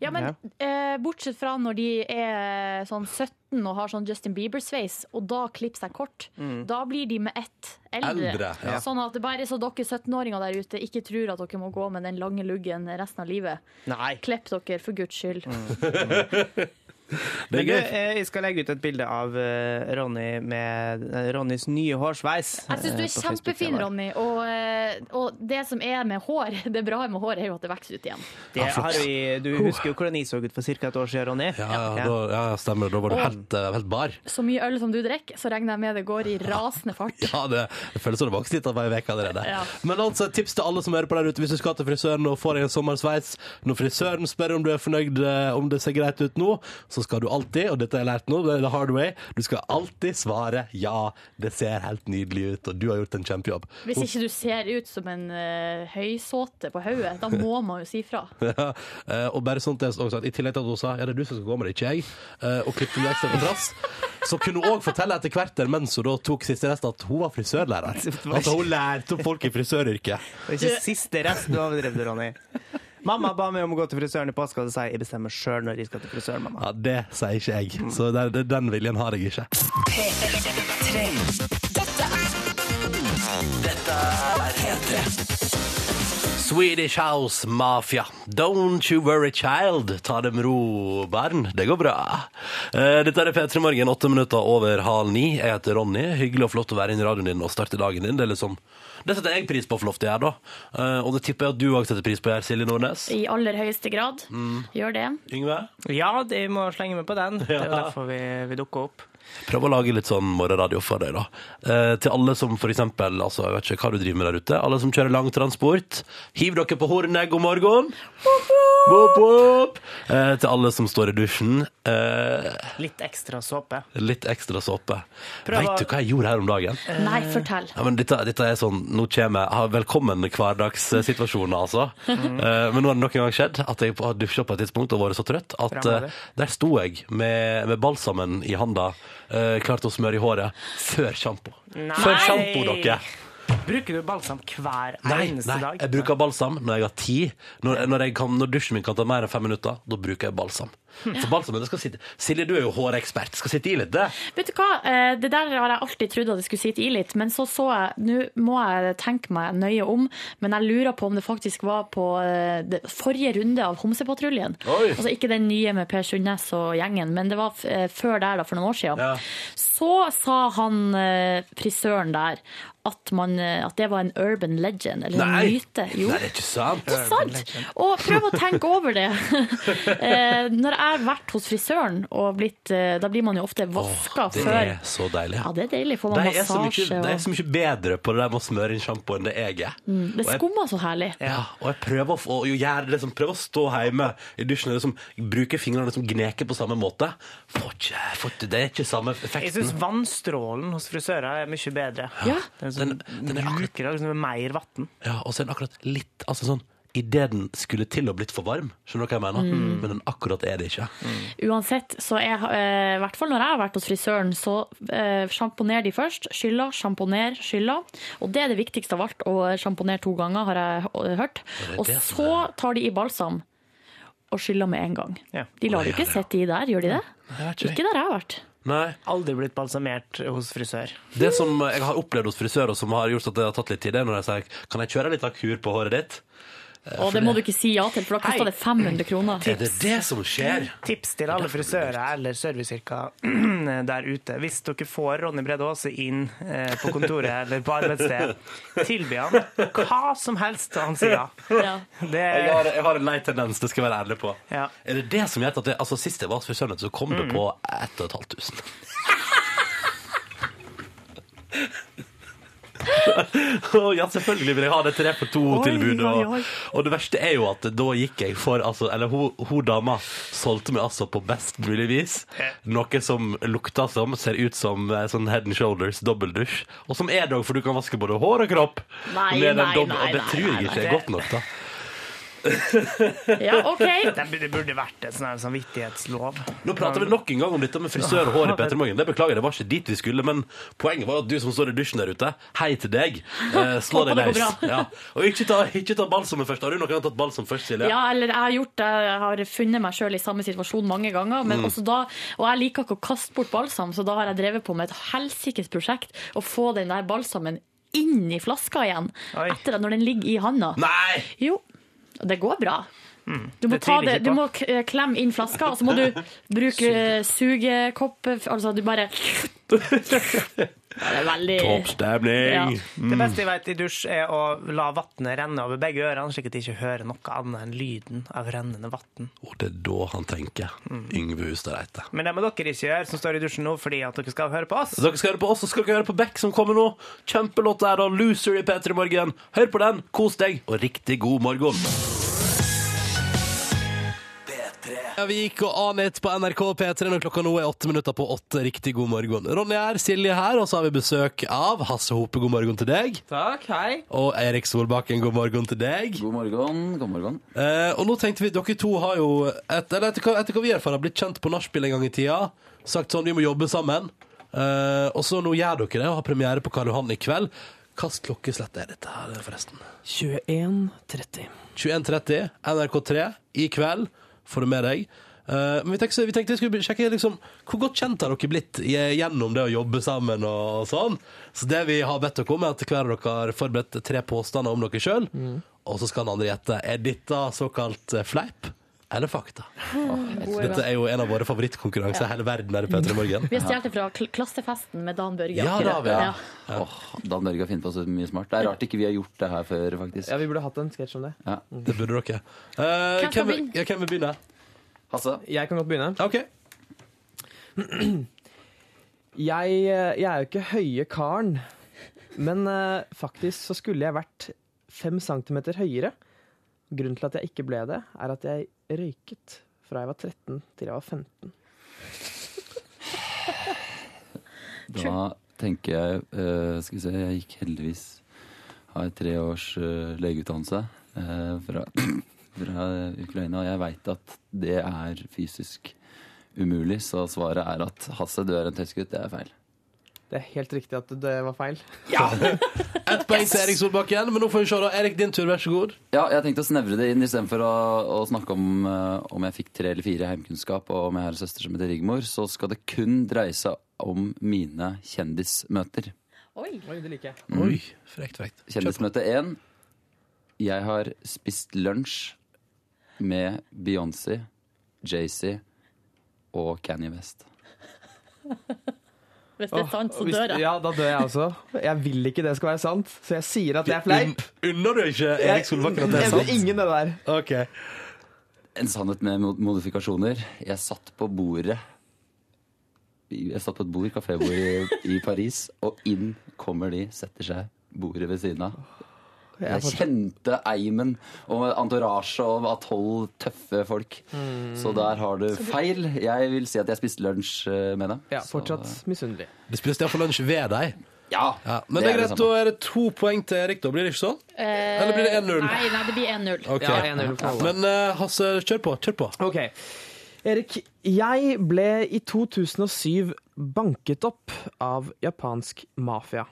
Speaker 3: Ja, men eh, bortsett fra når de er sånn 17 og har sånn Justin Bieber-sveis, og da klipper seg kort,
Speaker 18: Mm.
Speaker 3: da blir de med ett eldre.
Speaker 18: Eldre, ja.
Speaker 3: Sånn at det bare er så dere 17-åringer der ute ikke tror at dere må gå med den lange luggen resten av livet.
Speaker 4: Nei. Mm.
Speaker 3: Klepp dere, for guds skyld.
Speaker 4: Men du, eh, jeg skal legge ut et bilde av eh, Ronny med eh, Ronnys nye hårsveis.
Speaker 3: Jeg syns du er
Speaker 4: eh, på
Speaker 3: kjempefin,
Speaker 4: Facebook-sida vår.
Speaker 3: Ronny. Og, eh, og det som er med hår, det bra med hår, er jo at det vokser ut igjen.
Speaker 4: Det har vi, du husker jo hvordan jeg så ut for ca. et år siden, Ronny.
Speaker 2: Ja, ja, da, ja, stemmer det. Da var du helt, eh, helt bar.
Speaker 3: Så mye øl som du drikker, så regner jeg med det går i rasende fart.
Speaker 2: Ja, det, det føles som det vokste litt av ei uke allerede.
Speaker 3: Ja.
Speaker 2: Men altså, et tips til alle som hører på der ute. Hvis du skal til frisøren og får deg en sommersveis, når frisøren spør om du er fornøyd eh, om det ser greit ut nå, så skal du alltid, og dette har jeg lært nå, det er the hard way, du skal alltid svare ja, det ser helt nydelig ut, og du har gjort en kjempejobb.
Speaker 3: Hvis ikke du ser ut som en eh, høysåte på hodet, da må man jo si fra.
Speaker 2: Ja, eh, og bare sånt det er også, at I tillegg til at hun sa ja, det er du som skal gå med det, ikke jeg, eh, og klippet meg ekstra på trass, så kunne hun òg fortelle etter hvert der mens hun da tok siste rest, at hun var frisørlærer. Altså hun lærte opp folk i frisøryrket.
Speaker 4: Det er ikke siste rest du overdrev, det, Ronny. Mamma ba meg om å gå til frisøren i påska, og så sa jeg jeg bestemmer sjøl når jeg skal til frisøren, mamma.
Speaker 2: Ja, Det sier ikke jeg, så det, det, den viljen har jeg ikke.
Speaker 5: P3. Dette er Dette er P3.
Speaker 2: Swedish House Mafia. Don't you worry, child. Ta det med ro, barn. Det går bra. Eh, Dette er P3 Morgen, åtte minutter over halv ni. Jeg heter Ronny. Hyggelig og flott å være inne i radioen din og starte dagen din. Det, er liksom, det setter jeg pris på for ofte jeg gjør, da. Eh, Og det tipper jeg at du òg setter pris på, her, Silje Nordnes.
Speaker 3: I aller høyeste grad.
Speaker 2: Mm.
Speaker 3: Gjør det.
Speaker 2: Yngve?
Speaker 4: Ja, de må slenge meg på den. Det er jo derfor vi, vi dukker opp.
Speaker 2: Prøv å lage litt sånn morgenradio for deg, da. Eh, til alle som for eksempel, altså, jeg vet ikke hva du driver med der ute, alle som kjører langtransport, hiv dere på hornet, god morgen! Wop, wop. Eh, til alle som står i dusjen, eh,
Speaker 4: Litt ekstra såpe.
Speaker 2: litt ekstra såpe.
Speaker 4: Prøv å-
Speaker 2: Vet du hva jeg gjorde her om dagen?
Speaker 3: Nei,
Speaker 4: Eh,
Speaker 3: fortell.
Speaker 2: Ja, men dette, dette er sånn, nå kommer jeg, ha, velkommen hverdagssituasjoner, altså.
Speaker 3: Mhm.
Speaker 2: Eh, men nå har det nok en gang skjedd at jeg har dusja på et tidspunkt og vært så trøtt at
Speaker 15: Bra med
Speaker 2: eh,
Speaker 15: det.
Speaker 2: der sto jeg med, med balsamen i handa, eh, klart å smøre i håret, før sjampo.
Speaker 4: Nei!
Speaker 2: Før sjampo, dere!
Speaker 4: Bruker du balsam hver
Speaker 2: Nei,
Speaker 4: eneste
Speaker 2: nei,
Speaker 4: dag?
Speaker 2: jeg bruker balsam når jeg har tid. Når, når, jeg kan, når dusjen min kan ta mer enn fem minutter, da bruker jeg balsam.
Speaker 4: Hm.
Speaker 2: For balsamen, det skal sitte Silje, du er jo hårekspert. Skal sitte i litt, det.
Speaker 3: Vet du hva, Eh, det der har jeg alltid trodd at jeg skulle sitte i litt, men så så jeg Nå må jeg tenke meg nøye om, men jeg lurer på om det faktisk var på eh, det forrige runde av Homsepatruljen.
Speaker 19: Oi.
Speaker 3: Altså ikke den nye med Per Sundnes og gjengen, men det var f- eh, før der, da, for noen år siden. Så sa han eh, frisøren der at, man, eh, at det var en urban legend, eller en myte. Jo.
Speaker 2: Nei, det er ikke sant.
Speaker 3: Det er sant! Og prøv å tenke over det. Eh, Når jeg har vært hos frisøren, og blitt, eh, da blir man jo ofte vaska
Speaker 2: Det
Speaker 3: før.
Speaker 2: er så deilig.
Speaker 3: Ja, det er deilig. Får man
Speaker 2: De er, så mye,
Speaker 3: massasje
Speaker 2: de er
Speaker 3: og
Speaker 2: så mye bedre på det der med å smøre inn sjampo enn det jeg er.
Speaker 3: mm, Det
Speaker 2: Og jeg-
Speaker 3: skummer så herlig.
Speaker 2: Ja, og jeg prøver å, få, og jo gjøre det, liksom, prøver å stå hjemme i dusjen og liksom, bruke fingrene og liksom, gneke på samme måte. Får ikke, får ikke, det er ikke samme
Speaker 4: Jeg syns
Speaker 2: effekten.
Speaker 4: vannstrålen hos frisører er mye bedre. Den, som bruker liksom mer vann.
Speaker 2: Ja, og så er den akkurat litt altså sånn, Idet den skulle til å blitt for varm, skjønner du hva jeg mener?
Speaker 3: Mm.
Speaker 2: Men den akkurat er det ikke.
Speaker 3: Uansett, så er, eh, i hvert fall når jeg har vært hos frisøren, så eh, sjamponer de først. Skylla, sjamponer, skylla. Og det er det viktigste av alt, å sjamponere to ganger, har jeg h- hørt.
Speaker 2: det
Speaker 3: Og
Speaker 2: det
Speaker 3: så tar de i balsam og skyller med en gang. De lar
Speaker 4: Å,
Speaker 3: det
Speaker 4: ja,
Speaker 3: ikke sitte i der, gjør de det? Ikke der jeg har vært.
Speaker 2: Nei.
Speaker 4: Aldri blitt balsamert hos frisør.
Speaker 2: Det som jeg har opplevd hos frisører, som har gjort at det har tatt litt tid, det er når jeg sier Kan jeg kjøre litt akur på håret ditt? Eh,
Speaker 3: Og
Speaker 2: for
Speaker 3: det må du ikke si ja til, for da koster det 500 kroner.
Speaker 2: Er det det som skjer?
Speaker 4: Mm. Tips til alle frisører eller serviceyrker der ute. Hvis dere får Ronny Brede Aase inn eh, på kontoret eller på arbeidssted, tilby han hva som helst han sier. Det,
Speaker 2: Jeg har, jeg har en lei tendens, det skal jeg være ærlig på.
Speaker 4: Ja.
Speaker 2: Er det det som gjør at det, altså Sist jeg var hos frisøren, så kom
Speaker 15: Mm.
Speaker 2: det på 1500. Å, ja, selvfølgelig vil jeg ha det tre for
Speaker 15: Oi,
Speaker 2: to-tilbudet.
Speaker 15: oi, oi.
Speaker 2: Og, og det verste er jo at da gikk jeg for altså, Eller hun hun dama solgte meg altså på best mulig vis noe som lukta som, ser ut som eh, sånn head and shoulders dobbeldusj. Og som er det òg, for du kan vaske både hår og kropp.
Speaker 3: Nei,
Speaker 2: med den
Speaker 3: nei,
Speaker 2: dobbel-
Speaker 3: nei,
Speaker 2: og det
Speaker 3: nei,
Speaker 2: tror
Speaker 3: nei,
Speaker 2: jeg ikke
Speaker 3: nei.
Speaker 2: er godt nok, da.
Speaker 3: Ja, ok.
Speaker 4: Det burde- Det burde vært en sånn her samvittighetslov.
Speaker 2: Nå prater vi nok en gang om dette med frisør og hår i Petter Morgen. Det beklager, det var ikke dit vi skulle, men poenget var at du som står i dusjen der ute, hei til deg. Eh, slå
Speaker 3: Håper
Speaker 2: deg
Speaker 3: det går
Speaker 2: løs.
Speaker 3: bra.
Speaker 2: Ja. Og ikke ta, ikke ta balsamen først. Har du noen gang tatt balsam først, Silje?
Speaker 3: Ja, eller jeg har gjort det. Jeg har funnet meg sjøl i samme situasjon mange ganger. Men
Speaker 2: Mm.
Speaker 3: også da, og jeg liker ikke å kaste bort balsam, så da har jeg drevet på med et helsikes prosjekt å få den der balsamen inn i flaska igjen etter at når den ligger i handa.
Speaker 2: Nei!
Speaker 3: Jo. Og Det går bra. Du må,
Speaker 4: Mm. Det
Speaker 3: ta
Speaker 4: tviler
Speaker 3: det,
Speaker 4: jeg ikke
Speaker 3: du
Speaker 4: på.
Speaker 3: må k- eh, klemme inn flaska, og så må du bruke eh, sugekopp Altså, du bare Ja, Det er veldig Ja.
Speaker 4: Det beste jeg vet i dusj, er å la vannet renne over begge ørene, slik at jeg ikke hører noe annet enn lyden av rennende vann.
Speaker 2: Og det er da han tenker.
Speaker 3: Mm.
Speaker 2: Yngve Hustadreite.
Speaker 4: Men det må dere ikke gjøre som står i dusjen nå, fordi at dere skal høre på oss.
Speaker 2: Så Dere skal høre på oss, og skal dere høre på Beck som kommer nå. Kjempelåt der, og Loser i P3 Morgen. Hør på den, kos deg, og riktig god morgen. Ja, vi gikk og anet på NRK P3 når klokka nå er åtte minutter på åtte. Riktig god morgen. Ronny her, Silje her, og så har vi besøk av Hasse Hope. God morgen til deg.
Speaker 11: Takk, hei.
Speaker 2: Og Erik Solbakken, god morgen til deg.
Speaker 11: God morgen. god morgen.
Speaker 2: Eh, og nå tenkte vi, dere to har jo, et, eller etter, hva- etter hva vi erfarer, har blitt kjent på nachspiel en gang i tida. Sagt sånn, vi må jobbe sammen. Eh, og så nå gjør dere det, og har premiere på Karl Johan i kveld. Hvilket klokkeslett er dette her, forresten?
Speaker 11: 21.30.
Speaker 2: 21.30, NRK3, i kveld, får du med deg. Eh, men vi tenkte, vi tenkte vi skulle sjekke liksom, hvor godt kjent har dere blitt i- gjennom det å jobbe sammen og sånn. Så det vi har bedt dere om, er at hver av dere har forberedt tre påstander om dere sjøl.
Speaker 19: Mm.
Speaker 2: Og så skal den andre gjette. Er dette såkalt eh, fleip eller fakta? Dette er jo en av våre favorittkonkurranser i hele verden her i P3 Morgen.
Speaker 3: Vi har stjålet det fra kl klassefesten med Dan Børge.
Speaker 11: Ja, da har vi det.
Speaker 3: Ja.
Speaker 11: Åh, Dan Børge har funnet på så mye smart. Det er rart ikke vi har gjort det her før, faktisk.
Speaker 19: Ja, Vi burde hatt en sketsj om det.
Speaker 11: Ja.
Speaker 2: Det burde dere. Eh,
Speaker 19: Hvem skal
Speaker 2: hvem, vil- ja, hvem vil begynne?
Speaker 11: Hasse?
Speaker 19: Jeg kan godt begynne.
Speaker 2: Ok
Speaker 19: Jeg, eh, jeg er jo ikke høye karen, men eh, faktisk så skulle jeg vært fem centimeter høyere. Grunnen til at jeg ikke ble det, er at jeg røyket fra jeg var 13 til jeg var 15.
Speaker 11: Da tenker jeg eh, Skal vi se, jeg gikk heldigvis Har tre års eh, legeutdannelse eh, fra, fra Ukraina, og jeg veit at det er fysisk umulig, så svaret er at Hasse, du er en tøysgutt. Det er feil.
Speaker 19: Det er helt riktig at det var feil.
Speaker 2: Ett poeng til Erik Solbakken, men nå får vi se. da Erik, din tur, vær så god.
Speaker 11: Ja, jeg tenkte å snevre det inn istedenfor å, å snakke om eh, om jeg fikk tre eller fire i heimkunnskap og om jeg har en søster som heter Rigmor, så skal det kun dreie seg om mine kjendismøter.
Speaker 3: Oi.
Speaker 19: det liker jeg.
Speaker 11: Mm. Oi,
Speaker 2: frekt, frekt.
Speaker 11: Kjendismøte én. Jeg har spist lunsj med Beyoncé, Jay-Z og Kanye West.
Speaker 3: Hvis det er
Speaker 19: Åh,
Speaker 3: sant, så
Speaker 19: hvis-
Speaker 3: dør jeg.
Speaker 19: Ja, da dør jeg også. Jeg vil ikke det skal være sant, så jeg sier at det er fleip.
Speaker 2: Unner du ikke
Speaker 19: Erik Solbakken at det er Jeg- sant? jeg- ingen det der.
Speaker 11: En sannhet med mod- modifikasjoner. Jeg satt på bordet Jeg satt på et bord, kafébord i, i Paris, og inn kommer de, setter seg bordet ved siden av. Jeg kjente eimen og entourage og var tolv tøffe folk. Mm. Så der har du feil. Jeg vil si at jeg spiste lunsj eh, med dem. eh,
Speaker 19: Ja, fortsatt misunnelig.
Speaker 2: Du spiste iallfall lunsj ved deg.
Speaker 11: Ja,
Speaker 2: Ja, men det er greit, da er det to poeng til Erik, da. Blir det ikke sånn?
Speaker 3: Eh,
Speaker 2: Eller blir det 1-0?
Speaker 3: Nei, nei, det blir 1-0.
Speaker 2: Ok. Men eh, Hasse, kjør på. Kjør på.
Speaker 19: Ok. Erik, jeg ble i 2007 banket opp av japansk mafia.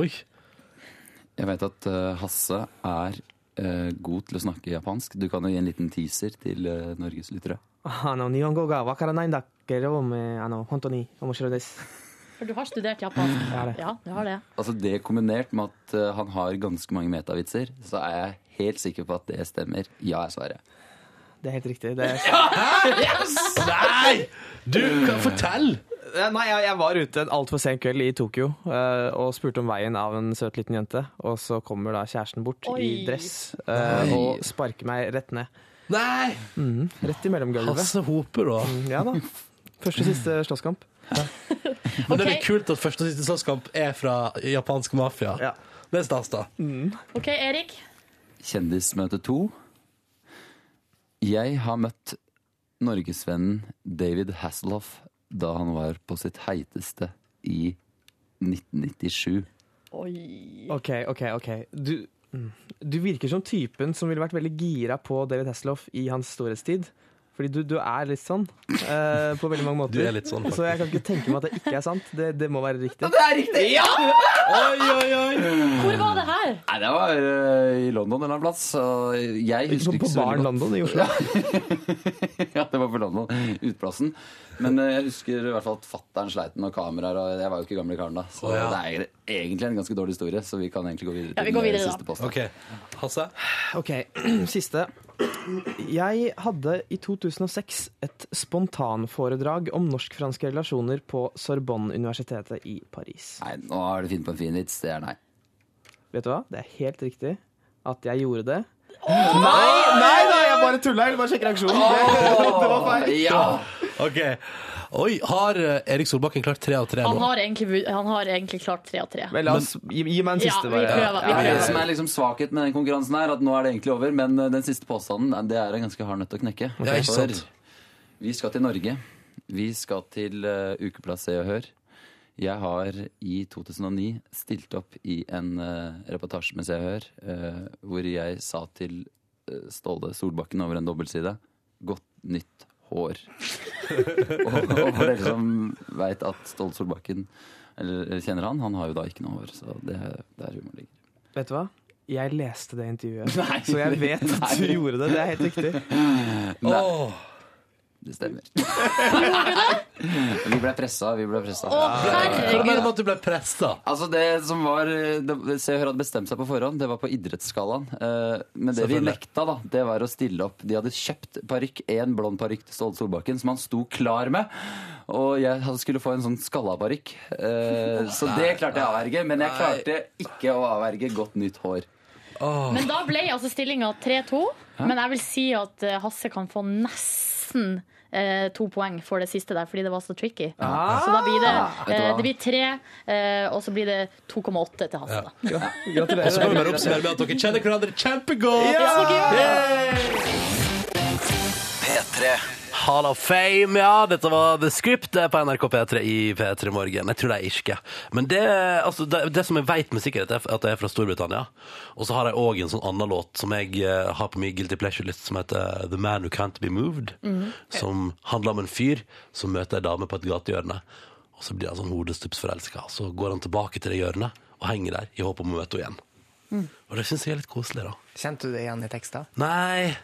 Speaker 2: Oi.
Speaker 11: Jeg vet at eh, Hasse er eh, god til å snakke japansk. Du kan jo gi en liten teaser til eh, Norges lyttere.
Speaker 19: あの日本語がわからないんだけど、めあの本当に面白いです。
Speaker 3: For du har studert japansk?
Speaker 11: Jeg har det.
Speaker 3: Ja, du har det.
Speaker 11: Altså Det kombinert med at eh, han har ganske mange metavitser, så er jeg helt sikker på at det stemmer. Ja, er svaret.
Speaker 19: Det er helt riktig. Det er
Speaker 2: Yes! Nei! Du, kan fortell!
Speaker 19: Nei, jeg, jeg var ute en altfor sen kveld i Tokyo eh, og spurte om veien av en søt liten jente. Og så kommer da kjæresten bort i
Speaker 2: Oi.
Speaker 19: dress eh,
Speaker 2: Nei.
Speaker 19: og sparker meg rett ned.
Speaker 2: Nei!
Speaker 19: Mhm, rett i mellomgulvet.
Speaker 2: Hasse Hope, da.
Speaker 19: Mm, ja da. Første og siste slåsskamp.
Speaker 2: Men det er litt kult at første og siste slåsskamp er fra japansk mafia. Det er stas, da.
Speaker 3: OK, Erik.
Speaker 11: Kjendismøte to. Jeg har møtt norgesvennen David Hasselhoff da han var på sitt heiteste i 1997.
Speaker 19: OK, OK, OK. Du, mm, du virker som typen som ville vært veldig gira på David Hasselhoff i hans storhetstid. Fordi du, du er litt sånn eh, på veldig mange måter.
Speaker 2: Du er litt sånn,
Speaker 19: så jeg kan ikke tenke meg at det ikke er sant. Det, det må være riktig.
Speaker 11: Det er riktig! Ja!
Speaker 2: Oi, oi, oi!
Speaker 3: Hvor var det her?
Speaker 11: Nei, det var eh, i London en eller annen plass. Og jeg
Speaker 19: Ikke
Speaker 11: husker
Speaker 19: sånn
Speaker 11: ikke
Speaker 19: på
Speaker 11: så
Speaker 19: baren
Speaker 11: veldig godt.
Speaker 19: London i Oslo.
Speaker 11: ja, det var på London. Utplassen. Men eh, jeg husker i hvert fall at fattern sleit med noen kameraer, og jeg var jo ikke gamle karen da. Så
Speaker 2: Å, ja.
Speaker 11: det er egentlig en ganske dårlig historie, så vi kan egentlig gå videre
Speaker 19: Ja, vi
Speaker 11: til
Speaker 19: går
Speaker 11: den eh,
Speaker 19: videre,
Speaker 11: siste
Speaker 19: da.
Speaker 11: posten.
Speaker 2: Ok. Hasse?
Speaker 19: Ok, siste. Jeg hadde i 2006 et spontanforedrag om norsk-franske relasjoner på Sorbonne-universitetet i Paris.
Speaker 11: Nei, nå har du funnet på en fin vits. Det er nei.
Speaker 19: Vet du hva? Det er helt riktig at jeg gjorde det.
Speaker 10: Nei, nei da, jeg bare tulla. Jeg ville bare sjekke reaksjonen. Det, det var feil.
Speaker 2: Ok. Oi, har eh, Erik Solbakken klart tre av tre
Speaker 3: Han
Speaker 2: nå?
Speaker 3: har egentlig, vu- han har egentlig klart tre av tre.
Speaker 19: Men la oss gi, gi meg en
Speaker 3: Ja,
Speaker 19: siste,
Speaker 3: vi
Speaker 19: bare.
Speaker 3: prøver, vi
Speaker 11: Ja, det
Speaker 3: prøver.
Speaker 11: som er liksom svakhet med den konkurransen her, at nå er det egentlig over, men eh, den siste påstanden eh, det er en ganske hard nøtt å knekke.
Speaker 2: Ja, ikke
Speaker 11: For
Speaker 2: sant.
Speaker 11: Vi skal til Norge. Vi skal til eh, ukeplass Se og Hør. Jeg har i 2009 stilt opp i en eh, reportasje med Se og Hør, eh, hvor jeg sa til eh, Ståle Solbakken over en dobbeltside godt nytt hår. og, og for dere som veit at Ståle Solbakken eller kjenner han, han har jo da ikke noe hår, så det er der humor ligger.
Speaker 19: Vet du hva? Jeg leste det intervjuet,
Speaker 11: Nei.
Speaker 19: så jeg vet at du
Speaker 11: Nei.
Speaker 19: gjorde det. Det er helt riktig.
Speaker 11: Nei. Det stemmer. vi ble pressa, vi ble pressa.
Speaker 2: Hva er det med at du ble pressa?
Speaker 11: Altså det som var eh, det, Se og Hør hadde bestemt seg på forhånd, det var på idrettsskalaen. Eh, Men det vi
Speaker 2: Selvfølgelig.
Speaker 11: nekta, da, det var å stille opp. De hadde kjøpt parykk, én blond parykk til Ståle Solbakken, som han sto klar med. Og jeg hadde- skulle få en sånn skalla parykk. Eh, Så det klarte jeg å avverge. Men jeg klarte ikke å avverge godt nytt hår.
Speaker 3: Men da ble altså stillinga 3-2.
Speaker 11: Hæ?
Speaker 3: Men jeg vil si at eh, Hasse kan få nesten eh, to poeng for det siste der, fordi det var så tricky.
Speaker 11: Ah.
Speaker 3: Så da blir det,
Speaker 11: Vet du
Speaker 3: eh,
Speaker 11: hva?
Speaker 3: det blir tre, eh, og så blir det 2,8 til Hasse. Da.
Speaker 2: Og så kan vi bare oppsummere med at dere kjenner hverandre kjempegodt!
Speaker 1: P3
Speaker 2: Hall of Fame, ja. Dette var The Script det er på NRK P3 i P3 Morgen. Jeg tror de er irske. Men det, altså, det, det som jeg vet med sikkerhet, er at jeg er fra Storbritannia. Og så har jeg òg en sånn annen låt som jeg eh, har på min guilty pleasure-list, som heter The Man Who Can't Be Moved.
Speaker 11: Mm-hmm.
Speaker 1: Mhm.
Speaker 2: Som handler om en fyr som møter ei dame på et gatehjørne. Og så blir han sånn hodestupsforelska. Så går han tilbake til det hjørnet og henger der i håp om å møte henne igjen.
Speaker 4: Mm.
Speaker 2: Og det syns jeg er litt koselig, da.
Speaker 4: Kjente du det igjen i teksten?
Speaker 2: Nei. Jeg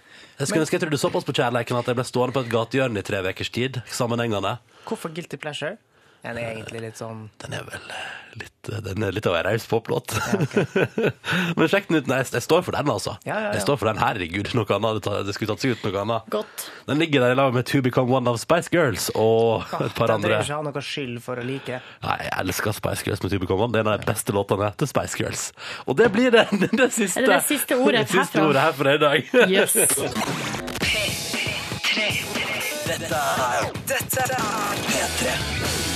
Speaker 2: skulle ønske jeg trodde såpass på kjærleiken at jeg ble stående på et gatehjørne i tre ukers tid. Sammenhengende.
Speaker 4: Hvorfor Guilty Pleasure? Den er egentlig litt sånn
Speaker 2: Den er vel eh, Den er litt av en raus poplåt. Men sjekk den ut. Nei, jeg står for den, altså.
Speaker 4: Ja, ja, ja.
Speaker 2: Jeg står for den. Herregud, noe annet. hadde tatt- Det skulle tatt seg ut noe annet.
Speaker 3: Godt.
Speaker 2: Den ligger der i lag med To Become One of Spice Girls og et par
Speaker 4: Den
Speaker 2: andre.
Speaker 4: trenger ikke ha noe skyld for å like det.
Speaker 2: Nei, jeg elsker Spice Girls med To Become One. Det er en av de beste låtene til Spice Girls. Og det blir det, det, det siste
Speaker 3: Er det det siste ordet
Speaker 2: det siste
Speaker 3: herfra?
Speaker 2: ordet herfra i dag.
Speaker 3: Yes.
Speaker 1: Dette er Dette er P3